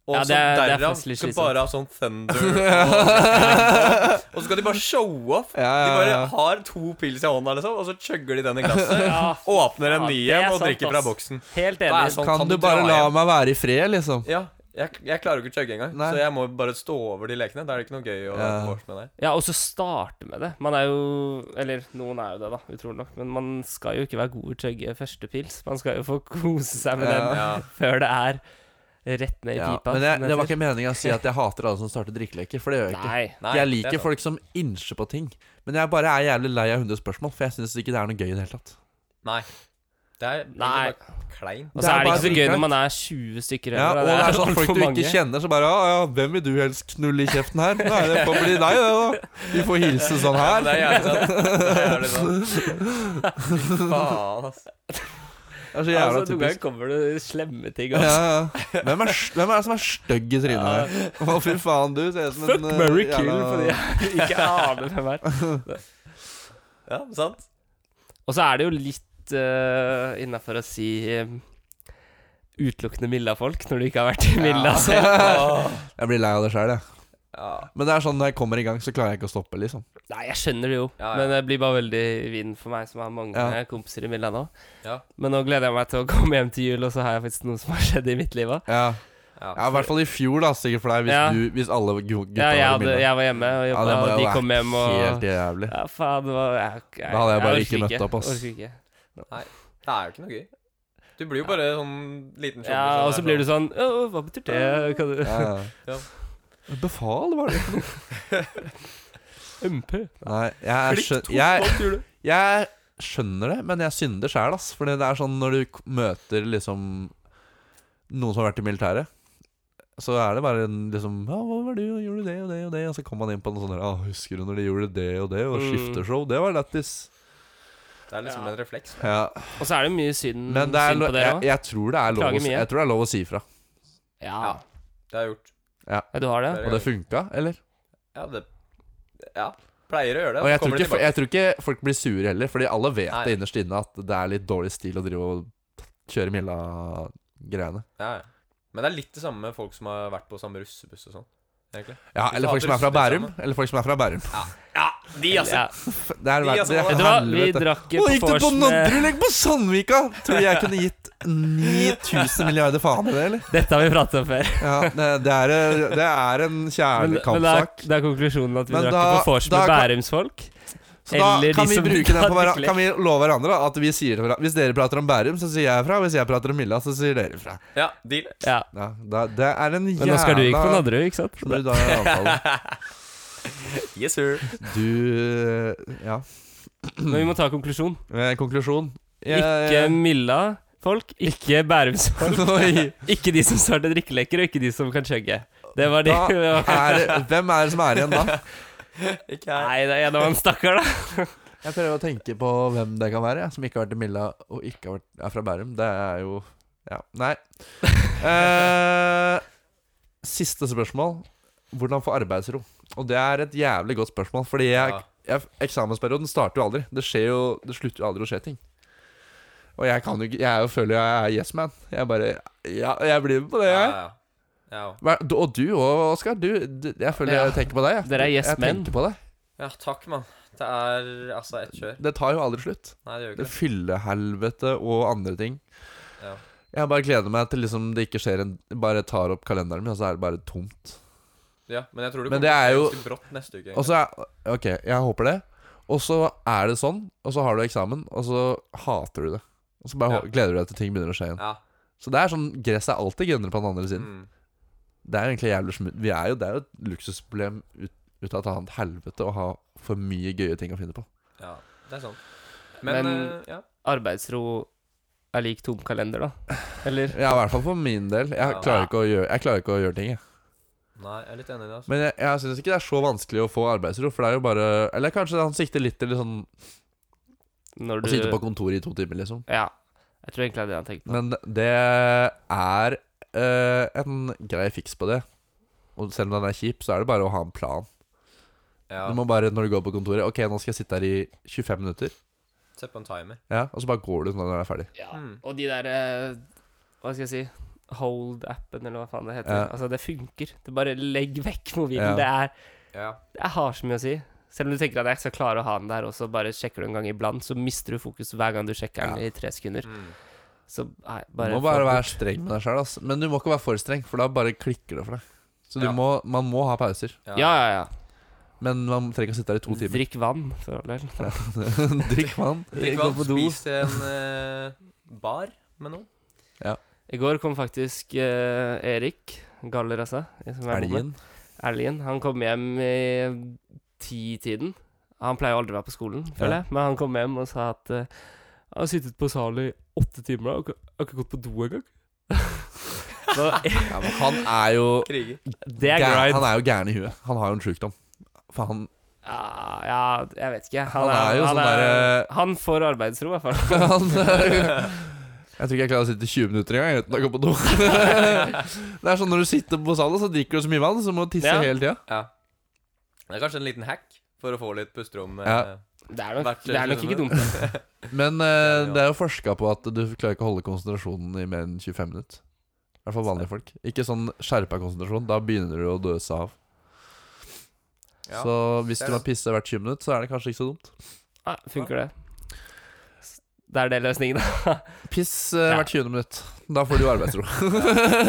A: Og
C: Ja, det er- det
A: som
C: er
A: derav
C: faktisk litt
A: skal
C: slitsomt.
A: bare ha sånn
B: *laughs*
A: thunder
B: ja,
A: *laughs* Og så skal de bare show off. De
B: ja,
A: bare
B: ja.
A: har to pils i hånda, liksom, og så chugger de den i glasset.
C: Eh. *laughs* Ja,
A: Åpner en
C: faen,
A: ny
C: det er
A: en og
C: sant,
A: drikker fra
C: ass.
A: boksen.
C: helt
A: Da er
C: enig.
A: jeg sånn,
B: Kan du bare
A: dra
B: la
A: hjem?
B: meg være i fred, liksom?
A: Ja, jeg, jeg klarer jo ikke å chugge engang,
B: Nei.
A: så jeg må bare stå over de lekene. Da er det ikke noe gøy å
B: Ja.
A: vors med der.
C: Ja, og så starte med det. Man er jo Eller noen er jo det, da, utrolig nok. Men man skal jo ikke være god i å chugge første pils. Man skal jo få kose seg med
B: Ja.
C: den
A: Ja.
C: før det er rett ned i
B: Ja,
C: pipa.
B: men jeg,
C: som
B: det var
C: heter.
B: ikke meninga å si at jeg hater alle som starter drikkeleker, for det gjør jeg ikke.
C: Nei.
A: Nei, det
B: jeg liker
A: er sånn. sant.
B: folk som innsjer på ting. Men jeg bare er jævlig lei av 100 spørsmål, for jeg syns ikke det er noe gøy i det hele tatt.
A: Nei. Det er egentlig
C: Nei.
A: bare kleint.
C: Og
B: Det
C: så
B: er
C: Altså, er
B: bare
C: det ikke så gøy
B: dritkleint.
C: når man er 20 stykker
B: Ja, og
C: heller,
B: det er
C: alt
B: sånn folk
C: *laughs* for
B: du ikke
C: mange.
B: kjenner, så bare ja, ja, 'Hvem vil du helst knulle i kjeften her?' Nei, det får bli deg, det, da. Vi får hilse sånn
A: Ja,
B: her.
A: det er jævlig sant. Det er jævlig
C: *laughs*
A: sant. Fy Faen, ass.
B: Det er så
C: Ja,
B: jævla
C: altså, noen ganger
B: typisk.
C: kommer det slemme ting.
B: Ja,
C: Altså.
B: ja. Hvem, er, st- hvem er det som er stygg i trynet her? Å, fy faen, du ser ut som en
C: Fuck,
B: eh,
C: marry, kill,
B: jævla-
C: fordi jeg *laughs* ikke aner hvem er.
A: Ja, sant?
C: Og så er det jo litt uh, innafor å si eh, utelukkende Milla-folk når du ikke har vært i Milla. selv.
B: Jeg blir lei av det sjøl, jeg.
A: Ja.
B: Men det er sånn når jeg kommer i gang, så klarer jeg ikke å stoppe, liksom.
C: Nei, jeg skjønner det jo,
A: Ja, ja.
C: men det blir bare veldig vin for meg som har mange
B: Ja.
C: kompiser i Milla nå.
A: Ja.
C: Men nå gleder jeg meg til å *laughs* komme hjem til jul, og så har jeg faktisk noe som har skjedd i mitt liv òg.
B: Ja, ja
A: Ja.
B: i hvert fall i fjor, da, sikkert for deg, hvis,
C: Ja.
B: du, hvis alle gu- gutta
C: Ja, jeg,
B: hadde
C: hadde,
B: bilde.
C: jeg var hjemme og
B: Ja,
C: jobba,
B: det må
C: og
B: jo
C: de
B: ha
C: kom
B: vært
C: hjem og
B: Helt
C: *laughs*
B: jævlig.
C: Ja, faen, det var jeg, jeg,
B: Da hadde jeg bare
C: orker
B: ikke møtt opp, ass.
C: Orker ikke.
A: Det er jo ikke noe gøy. Du blir jo bare sånn liten
C: Ja, og så blir du sånn Å, hva betyr det? Kan du
B: Ja, ja.
A: Ja.
B: Befal, var det.
C: MP?
B: Nei, jeg, skjøn, jeg, jeg skjønner det, men jeg synder sjæl, ass. Fordi det er sånn når du k- møter liksom noen som har vært i militæret, så er det bare en liksom Ja, hva var det, og gjorde du det og det og det? Og så kommer man inn på noe sånn der, Ja, husker du når de gjorde det og det, og
C: Mm.
B: skifteshow? Det var lættis.
A: Det er liksom
C: Ja.
A: en refleks.
B: Ja.
C: Og så er det mye synd,
B: Men det er
C: Mm, synd
B: lo
C: på det
B: jeg,
C: òg.
B: jeg, tror det er lov
C: Klager
B: å, si-
C: mye.
B: jeg tror det er lov å si ifra.
C: Ja.
A: Ja. Det har jeg gjort.
C: ja, du har det?
B: Og det funka, eller?
A: Ja, det Ja. Pleier å gjøre det.
B: Og
A: så
B: jeg tror,
A: kommer det
B: ikke, jeg tror ikke folk blir sure heller, Fordi alle vet
A: Nei.
B: det innerst inne at det er litt dårlig stil å drive og kjøre Milla-greiene.
A: tilbake. Ja, ja. Men det er litt det samme med folk som har vært på samme russebuss og sånn. Egentlig.
B: Ja,
A: Du
B: eller
A: sa at
B: folk som er fra
A: russebuss er
B: Bærum. Eller folk som er fra Bærum. *laughs*
A: De, altså.
C: Ja.
B: Det er
A: De,
B: verdt
A: altså,
B: det.
C: Vet du hva, vi drakk
B: Å,
C: på
B: gikk du på
C: vorsen eh,
B: Nadderud, legg på Sandvika! Tror jeg kunne gitt 9000 milliarder faen i det, eller?
C: Dette har vi pratet om før.
B: Ja, det, det, er, det er en
C: Men, men det, er,
B: kjernekampsak.
C: det er konklusjonen at vi
B: Men
C: drakk
B: da-
C: på vors
B: da
C: med
B: kan-
C: Bærumsfolk.
B: Så da
C: Eller
B: kan
C: de
B: vi,
C: som
B: bruke
C: bruker
B: den på hver,
C: artikler.
B: kan vi love hverandre at vi sier det fra. Hvis dere prater om Bærum, så sier jeg fra. Hvis jeg prater om Milla, så sier dere fra.
A: ja, deal.
C: Ja.
B: Ja, da, det er en jævla
C: Men nå skal du ikke på Nadderud, ikke
B: *clears throat*
C: sant?
B: Så du da er avtale.
A: Yes, sir.
B: Du Ja.
C: Men vi må ta konklusjon.
B: Eh, Konklusjon.
C: Ikke Milla-folk, ikke Bærums-folk.
B: *laughs* Oi.
C: Ikke de som starter drikkeleker, og ikke de som kan chugge. Det var de
B: Da er, det- hvem er det som er igjen da?
A: Ikke jeg.
C: Nei, det er en av en stakkar, da.
B: Jeg prøver å tenke på hvem det kan være, jeg, som ikke har vært i Milla og ikke har vært, er fra Bærum. Det er jo Ja,
C: *laughs*
B: nei. Eh, siste spørsmål. Hvordan få arbeidsro? Og det er et jævlig godt spørsmål, fordi jeg,
A: Ja.
B: jeg, eksamensperioden starter jo aldri. Det, skjer jo, det slutter jo aldri å skje ting. Og jeg kan jo ikke Jeg er jo- føler jeg er yes man. Jeg bare Ja, jeg blir med på det,
A: Ja,
B: jeg.
A: ja. ja.
B: Hva- du- Og du òg, Oskar. Du, du, jeg føler
C: Ja.
B: jeg tenker på deg. Jeg.
C: Dere er yes
B: jeg
C: men.
B: tenker på deg.
A: ja, takk, mann. Det er altså ett kjør.
B: Det tar jo aldri slutt.
A: Nei, det gjør ikke
B: Det
A: det.
B: fyllehelvete og andre ting.
A: Ja.
B: Jeg bare gleder meg til liksom det ikke skjer en Bare tar opp kalenderen min, og så er det bare tomt.
A: Ja, men jeg tror det kommer
B: Men det er
A: til å
B: jo-
A: skje ganske brått neste uke.
B: Og så er Ok, jeg håper det. Og så er det sånn, og så har du eksamen, og så hater du det. Og så bare
A: Ja.
B: hå- gleder du deg til ting begynner å skje igjen.
A: Ja.
B: Så det er sånn Gresset er alltid grønnere på den andre siden.
A: Mm.
B: Det er egentlig jævlig smu- Vi er jo Det er jo et luksusproblem ut, ut av et annet helvete å ha for mye gøye ting å finne på.
A: ja. Det er sant. Men,
C: Men-
A: eh, ja.
C: Arbeidsro er lik tom kalender, da. Eller?
B: Ja, i hvert fall for min del. Jeg
A: Ja.
B: klarer ikke å gjøre, jeg klarer ikke å gjøre ting, jeg.
A: Nei, jeg er litt enig i det. altså.
B: Men jeg, jeg syns ikke det er så vanskelig å få arbeidsro, for det er jo bare Eller kanskje han sikter litt til liksom,
C: Når
B: å
C: du
B: sitte på kontoret i to timer, liksom.
C: Ja. Jeg tror egentlig det er det han tenkte på.
B: Men det er eh, en grei fiks på det. Og selv om den er kjip, så er det bare å ha en plan.
A: Ja.
B: Du må bare, når du går på kontoret Ok, nå skal jeg sitte her i 25 minutter.
A: Sett på en timer.
B: Ja, Og så bare går du når du er ferdig.
C: Ja.
A: Mm.
C: Og de der eh, Hva skal jeg si Hold-appen, eller hva faen det heter.
B: Ja.
C: Altså, det funker. Du bare legg vekk mobilen.
B: Ja.
C: Det er
A: Ja.
C: Jeg har så mye å si. Selv om du tenker at jeg skal klare å ha den der, og så bare sjekker du en gang iblant, så mister du fokus hver gang du sjekker den
B: Ja.
C: i tre sekunder.
A: Mm.
C: Så nei,
B: du
C: bare
B: må bare
C: få
B: være
C: bort.
B: streng med deg sjøl, ass. Men du må ikke være for streng, for da bare klikker det for deg. Så du
A: Ja.
B: må, man må ha pauser.
A: Ja.
C: Ja, ja, ja.
B: Men man trenger ikke å sitte her i to timer. *laughs*
C: Drikk vann, for all del.
B: Drikk vann.
A: Drikk
C: Gå
A: vann,
C: på do.
A: spis til en eh, bar med noen.
C: I går kom faktisk eh, Erik Galler, altså. Som jeg bor med.
B: Elgen.
C: Erlien. Han kom hjem i ti-tiden. Han pleier jo aldri å være på skolen, føler
B: Ja.
C: jeg. Men han kom hjem og sa at eh, Jeg har sittet på salen i åtte timer og ikke- jeg har ikke gått på do engang. *laughs* Så
B: *laughs* Ja, men han er jo
A: Kriger.
C: det er
B: gæren-
C: grind.
B: Han er jo gæren i huet. Han har jo en sjukdom. For han
C: Ja, ja, jeg vet ikke.
B: Han er jo
C: han,
B: sånn derre- *laughs*
C: han får arbeidsro, i hvert fall.
B: Han Jeg tror ikke jeg klarer å sitte 20 minutter engang uten å gå på do. *laughs* det er sånn når du sitter på salen, så drikker du så mye vann, så må du tisse
C: Ja.
B: hele tida.
A: Ja. Det er kanskje en liten hack for å få litt pusterom. eh,
B: Ja.
C: Det er nok,
A: Vært-
C: det er nok ikke dumt.
B: Men eh,
A: Ja, ja.
B: det er jo forska på at du klarer ikke å holde konsentrasjonen i mer enn 25 minutter. I hvert fall vanlige folk. Ikke sånn skjerpa konsentrasjon. Da begynner du å døse av.
A: Ja.
B: Så hvis
A: det er
B: du må
A: sant.
B: pisse hvert 20 minutter, så er det kanskje ikke så dumt.
C: Ja, Ah, funker
B: *laughs*
C: det? S- Det er det løsningen, da.
B: Piss eh,
C: Ja.
B: hvert 20 minutt. Da får du jo
A: *laughs*
B: arbeidsro.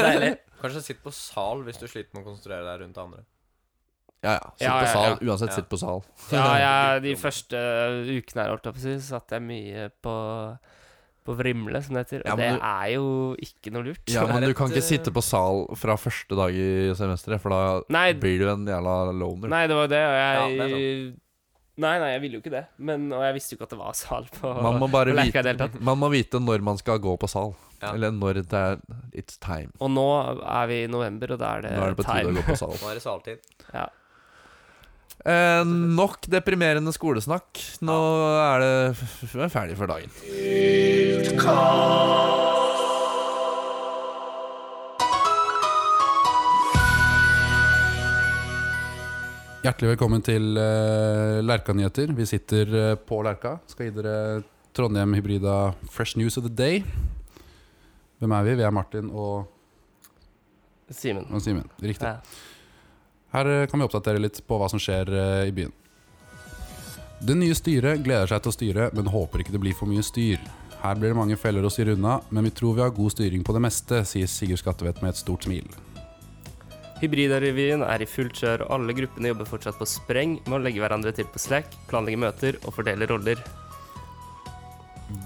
C: Deilig.
A: Kanskje sitt på sal hvis du sliter med å konsentrere deg rundt andre.
B: Ja, ja. Sitt
C: Ja,
B: på
C: ja,
B: sal. Uansett,
A: Ja.
B: sitt på sal.
C: *laughs* Ja, jeg, de første ukene her, holdt jeg på å si, satt jeg mye på på Vrimle, som det heter. Og
B: Ja,
C: det
B: men du-
C: er jo ikke noe lurt.
A: *laughs*
B: Ja,
A: Det er
B: men du
A: et,
B: kan ikke
A: eh,
B: sitte på sal fra første dag i semesteret, for da
C: Nei, d-
B: blir du en jævla loner.
C: nei, det var jo det, og jeg
A: Ja, det
C: Nei, nei, jeg ville jo ikke det. Men, og jeg visste jo ikke at det var sal på
B: man, må
C: *laughs*
B: bare
C: på Lerka i det hele
B: vite,
C: tatt.
B: man må vite når man skal gå på sal.
A: Ja.
B: Eller når det er It's time.
C: Og nå er vi i november, og da er det,
B: Nå er det på tide å
C: time.
B: gå på sal.
A: Nå er det saltid.
B: Eh, nok deprimerende skolesnakk. Nå er det f- f- ferdig for dagen.
D: Hjertelig velkommen til uh, Lerka-nyheter. Vi sitter eh, på Lerka. Skal gi dere Trondheim Hybrida Fresh News of the Day. Hvem er vi? Vi er Martin og,
C: Simen.
D: og Simen. Riktig.
C: Ja.
D: Her eh, kan vi oppdatere litt på hva som skjer eh, i byen. Det nye styret gleder seg til å styre, men håper ikke det blir for mye styr. Her blir det mange feller å styre unna, men vi tror vi har god styring på det meste, sier Sigurd Skattevedt med et stort smil.
C: Hybridarevyen er i fullt kjør, og alle gruppene jobber fortsatt på spreng med å legge hverandre til på Slack, planlegge møter og fordele roller.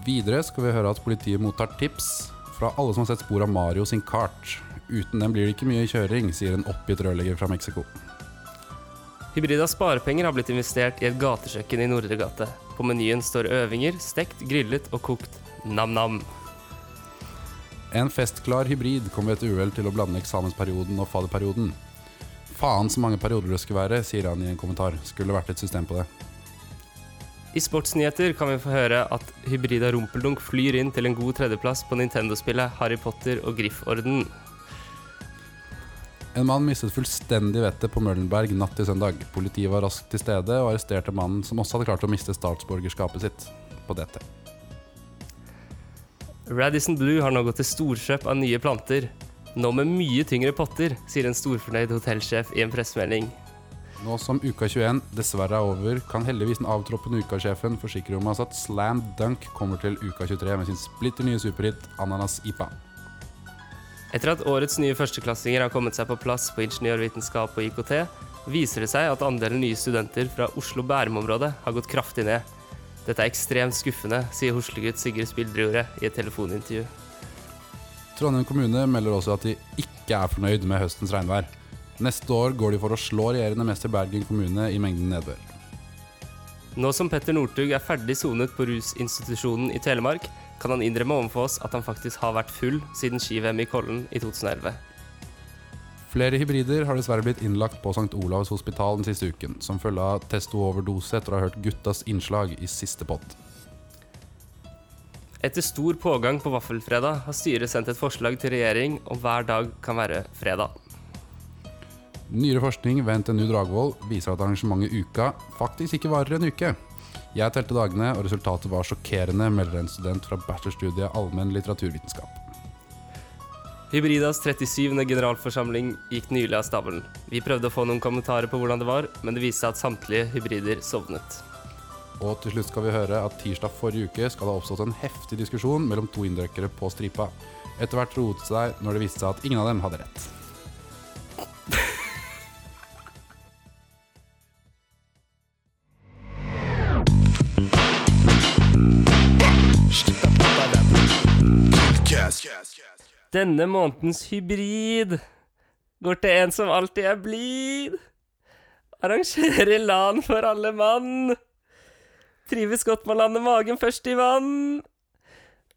D: Videre skal vi høre at politiet mottar tips fra alle som har sett spor av Mario sin kart. Uten den blir det ikke mye kjøring, sier en oppgitt rørlegger fra Mexico.
C: Hybridas sparepenger har blitt investert i et gatekjøkken i Nordre gate. På menyen står øvinger, stekt, grillet og kokt. Nam-nam.
D: En festklar hybrid kom ved et uhell til å blande eksamensperioden og fadderperioden. Faen så mange perioder det skulle være, sier han i en kommentar. Skulle vært et system på det.
C: I sportsnyheter kan vi få høre at hybrida Rumpeldunk flyr inn til en god tredjeplass på Nintendo-spillet Harry Potter og Grifforden.
D: En mann mistet fullstendig vettet på Møllenberg natt til søndag. Politiet var raskt til stede og arresterte mannen som også hadde klart å miste statsborgerskapet sitt på dette.
C: Radisson Blue har nå gått til storkjøp av nye planter. Nå med mye tyngre potter, sier en storfornøyd hotellsjef i en pressemelding.
D: Nå som uka 21 dessverre er over, kan heldigvis den avtroppende ukasjefen forsikre om oss at Slam Dunk kommer til uka 23 med sin splitter nye superhit Ananas Ipa.
C: Etter at årets nye førsteklassinger har kommet seg på plass på ingeniørvitenskap og IKT, viser det seg at andelen nye studenter fra Oslo-Bærum-området har gått kraftig ned. Dette er ekstremt skuffende, sier hoslegutt Sigurd Spildrejordet i et telefonintervju.
D: Trondheim kommune melder også at de ikke er fornøyd med høstens regnvær. Neste år går de for å slå regjerende mester Bergen kommune i mengden nedbør.
C: Nå som Petter Northug er ferdig sonet på rusinstitusjonen i Telemark, kan han innrømme overfor oss at han faktisk har vært full siden ski-VM i Kollen i 2011.
D: Flere hybrider har dessverre blitt innlagt på St. Olavs hospital den siste uken, som følge av testo-overdose etter å ha hørt guttas innslag i siste pott.
C: Etter stor pågang på vaffelfredag har styret sendt et forslag til regjering om hver dag kan være fredag.
D: Nyere forskning ved NTNU Dragvoll viser at arrangementet Uka faktisk ikke varer en uke. Jeg telte dagene, og resultatet var sjokkerende, melder en student fra bachelorstudiet allmenn litteraturvitenskap.
C: Hybridas 37. generalforsamling gikk nylig av stabelen. Vi prøvde å få noen kommentarer på hvordan det var, men det viste seg at samtlige hybrider sovnet.
D: Og til slutt skal vi høre at tirsdag forrige uke skal det ha oppstått en heftig diskusjon mellom to inndrøkkere på stripa. Etter hvert roet det seg når det viste seg at ingen av dem hadde rett.
C: Denne månedens hybrid går til en som alltid er blid. Arrangerer LAN for alle mann. Trives godt med å lande magen først i vann.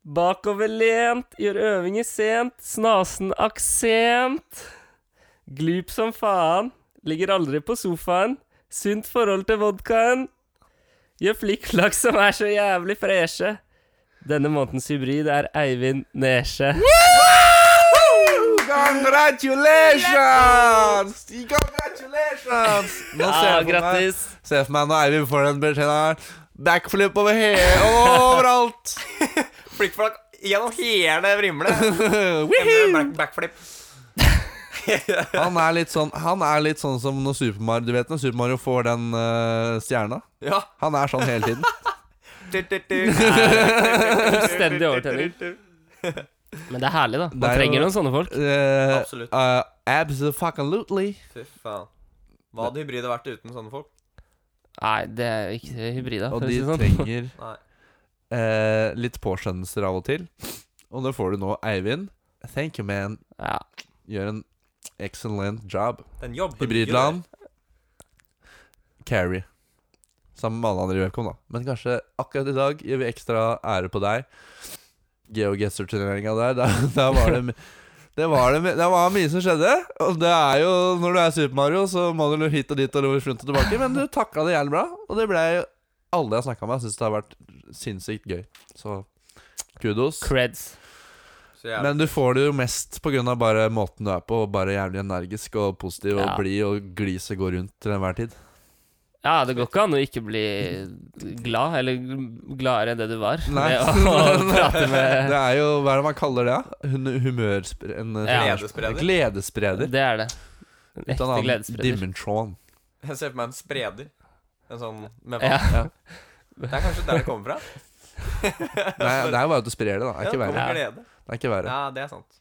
C: Bakoverlent, gjør øvinger sent, snasen aksent. Glup som faen, ligger aldri på sofaen. Sunt forhold til vodkaen. Gjør flikkflakk som er så jævlig freshe. Denne månedens hybrid er Eivind Nesje.
B: Congratulations! Congratulations! Nå ser
C: Ja,
B: jeg for meg,
C: grattis.
B: ser jeg for meg når Eivind får den beskjeden her. Backflip over hele
C: *laughs*
B: overalt!
A: Flikkflakk gjennom hele vrimlet.
B: Woohoo!
A: Back,
B: *laughs*
A: backflip.
B: han, er litt sånn, han er litt sånn som når Super Mario Du vet når Super Mario får den eh, stjerna?
A: Ja.
B: Han er sånn hele
C: *laughs*
B: tiden. *laughs*
A: Fullstendig
C: Fullstendig overtenning. Men det er herlig, da.
B: Det er
C: Man
B: jo-
C: trenger noen sånne folk.
B: Eh,
A: Absolutt.
B: eh, Absolutely.
A: Fy faen. Hva hadde hybride vært uten sånne folk?
C: Nei, det er ikke hybrida.
B: Og
C: for å
B: de
C: si det sånn.
B: trenger
A: Nei.
B: eh, litt påskjønnelser av og til. Og det får du nå, Eivind. Thank you, man.
C: Ja.
B: Gjør en excellent job.
A: Den jobber
B: Hybridland. Carrie. Sammen med alle andre i Webcom, da. Men kanskje akkurat i dag gir vi ekstra ære på deg. GeoGuessr-turneringa der, da, da var det Det var, det, det var mye som skjedde. Og det er jo, Når du er Super Mario, så må du hit og dit og løpe rundt og tilbake. Men du takla det jævlig bra. Og det ble alle jeg har snakka med, syns det har vært sinnssykt gøy. Så kudos.
C: Creds.
A: Så jævlig.
B: Men du får det jo mest pga. bare måten du er på, og bare jævlig energisk og positiv og
C: Ja.
B: blid og gliset går rundt til enhver tid.
C: Ja, det går ikke an å ikke bli glad, eller gladere enn det du var.
B: Nei.
C: Ved å
B: *laughs*
C: prate med
B: Det er jo Hva er det man kaller det? da? Hun, humørspre... En,
C: Eh.
B: sånn
C: Ja.
A: Gledesspreder.
B: Gledesspreder.
C: Det er det. En
B: Ut av en
C: Ekte
B: annen
C: gledesspreder.
B: Dimentron.
A: Jeg ser for meg en spreder. En sånn med vann.
C: Ja.
B: Ja.
A: Det er kanskje der det
B: *laughs*
A: kommer fra.
B: Nei, det er jo bare at du sprer det, da. Det
A: Ja,
B: er ikke
A: det
B: verre.
A: kommer glede.
B: Det er ikke verre.
A: Ja, det er sant.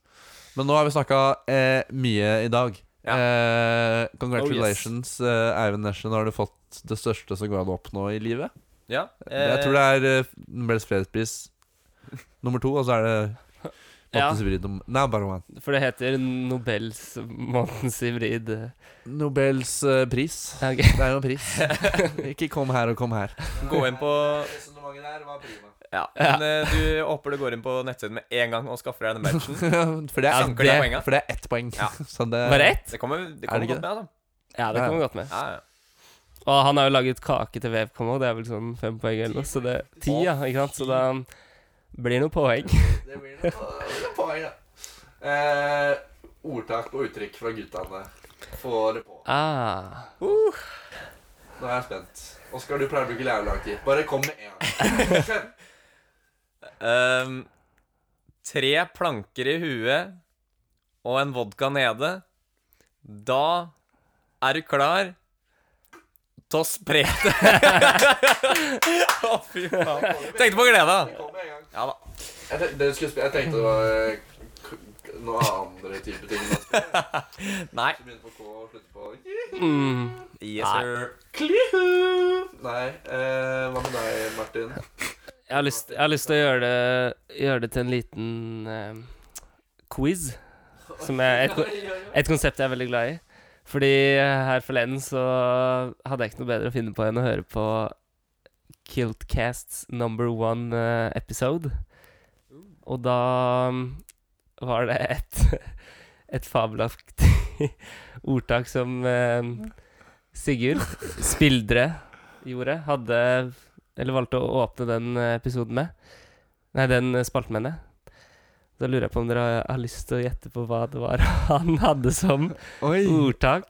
B: Men nå har vi snakka eh, mye i dag.
A: Ja.
B: Eh, congratulations, eh, Eivind Nesje. Nå har du fått det største som går an å oppnå i livet.
A: Ja.
B: jeg tror det er eh, Nobels fredspris nummer to, og så er det
C: Ja,
B: Mattes vrid om Nei, bare one.
C: for det heter Nobels månedens hybrid.
B: Nobels eh, pris.
C: Ja, ok.
B: Det er jo en
C: *laughs*
B: pris. Ikke kom her og kom her.
A: Gå inn på
B: Resonnementet der var prima.
A: Ja. Men eh, du jeg håper du går inn på nettsiden med en gang og skaffer deg den badgen.
B: *laughs* *laughs* for, det
A: Ja, det er
B: er, det,
A: poenget.
B: for det er ett poeng.
A: Ja.
B: *laughs* Så det,
C: Bare ett?
A: Det kommer, det
B: Er
A: kommer
B: det ikke
A: godt med, altså.
C: Ja, det
B: Ja, ja.
C: kommer godt med.
A: Ja, ja.
C: Og han har jo laget kake til Vevkom òg, det er vel sånn fem poeng eller noe. Så det ti, ja. Ikke sant? Så da blir det noen poeng.
B: Det blir noe poeng, da. Eh, ordtak og uttrykk fra guttene. Få det på.
C: Ah.
B: Nå er jeg spent. Oskar, du pleier å bruke jævlig lang tid. Bare kom med en gang.
A: Ehm, tre planker i huet og en vodka nede. Da er du klar til å spre det. *laughs* Å, fy faen. Tenkte på gleda.
B: Kom med en gang.
A: Ja da.
B: Jeg, tenkte, dere skulle sp- jeg tenkte det var eh, k- k- noe andre type ting. men Som
A: Nei.
B: begynner på K og slutter på
C: Mm.
A: Yes, sir.
B: Klihu! Nei, eh, hva med deg, Martin?
C: Jeg har lyst, jeg har lyst til å gjøre det, gjøre det til en liten eh, quiz. Som er et, ko- et konsept jeg er veldig glad i. Fordi her forleden så hadde jeg ikke noe bedre å finne på enn å høre på Kiltcasts number one eh, episode. Og da mm, var det et, *laughs* et fabelaktig *laughs* ordtak som eh, Sigurd Spildre gjorde. Hadde Eller valgte å åpne den eh, episoden med. Nei, den eh, spalten, mener jeg. Da lurer jeg på om dere har- har lyst til å gjette på hva det var *laughs* han hadde som
B: Oi.
C: Oh, ordtak.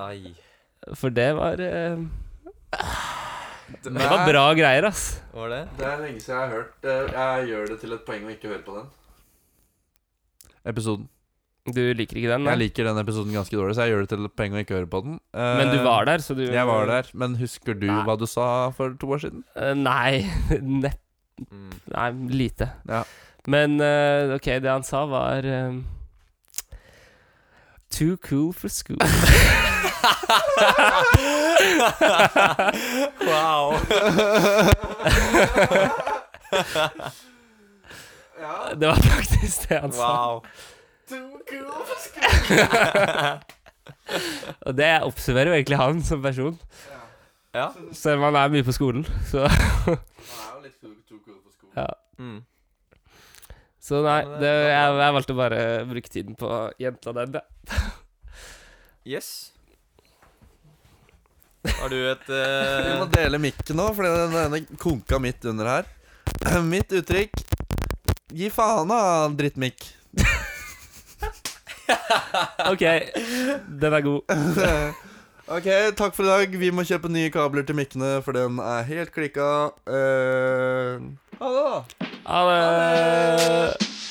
A: Ai.
C: For det var eh,
A: Det
C: Det var bra greier, ass.
A: Var det?
B: Det er lenge siden jeg har hørt. eh, Jeg gjør det til et poeng å ikke høre på den. Episoden.
C: Du liker ikke den?
B: Jeg
C: Nei?
B: liker den episoden ganske dårlig, så jeg gjør det til et poeng å ikke høre på den. Eh,
C: Men du var der, så du
B: Jeg var der, men husker du
C: Nei.
B: hva du sa for to år siden?
C: Eh, nei. *laughs* Nett
A: Mm.
C: *laughs*
A: *laughs*
C: Nei, lite.
B: Ja.
C: Men eh, OK, det han sa, var eh, Too cool for school. *laughs*
A: wow.
C: Det var faktisk det han sa.
A: Wow.
C: Og det oppsummerer jo egentlig han som person.
A: Ja.
C: Selv om han er mye på skolen. Så, ja.
A: Mm.
C: så nei,
A: Ja, men det-
C: det, jeg, jeg valgte å bare bruke tiden på jenta den. jeg.
A: Yes. Har du et eh,
B: *laughs* Vi må dele mikken nå, for den ene konka midt under her. *clears throat* Mitt uttrykk Gi faen av drittmikk.
C: OK, den er god.
B: *laughs* ok, takk for i dag. Vi må kjøpe nye kabler til mikkene, for den er helt klikka. Eh, ha det, da.
C: Ha det.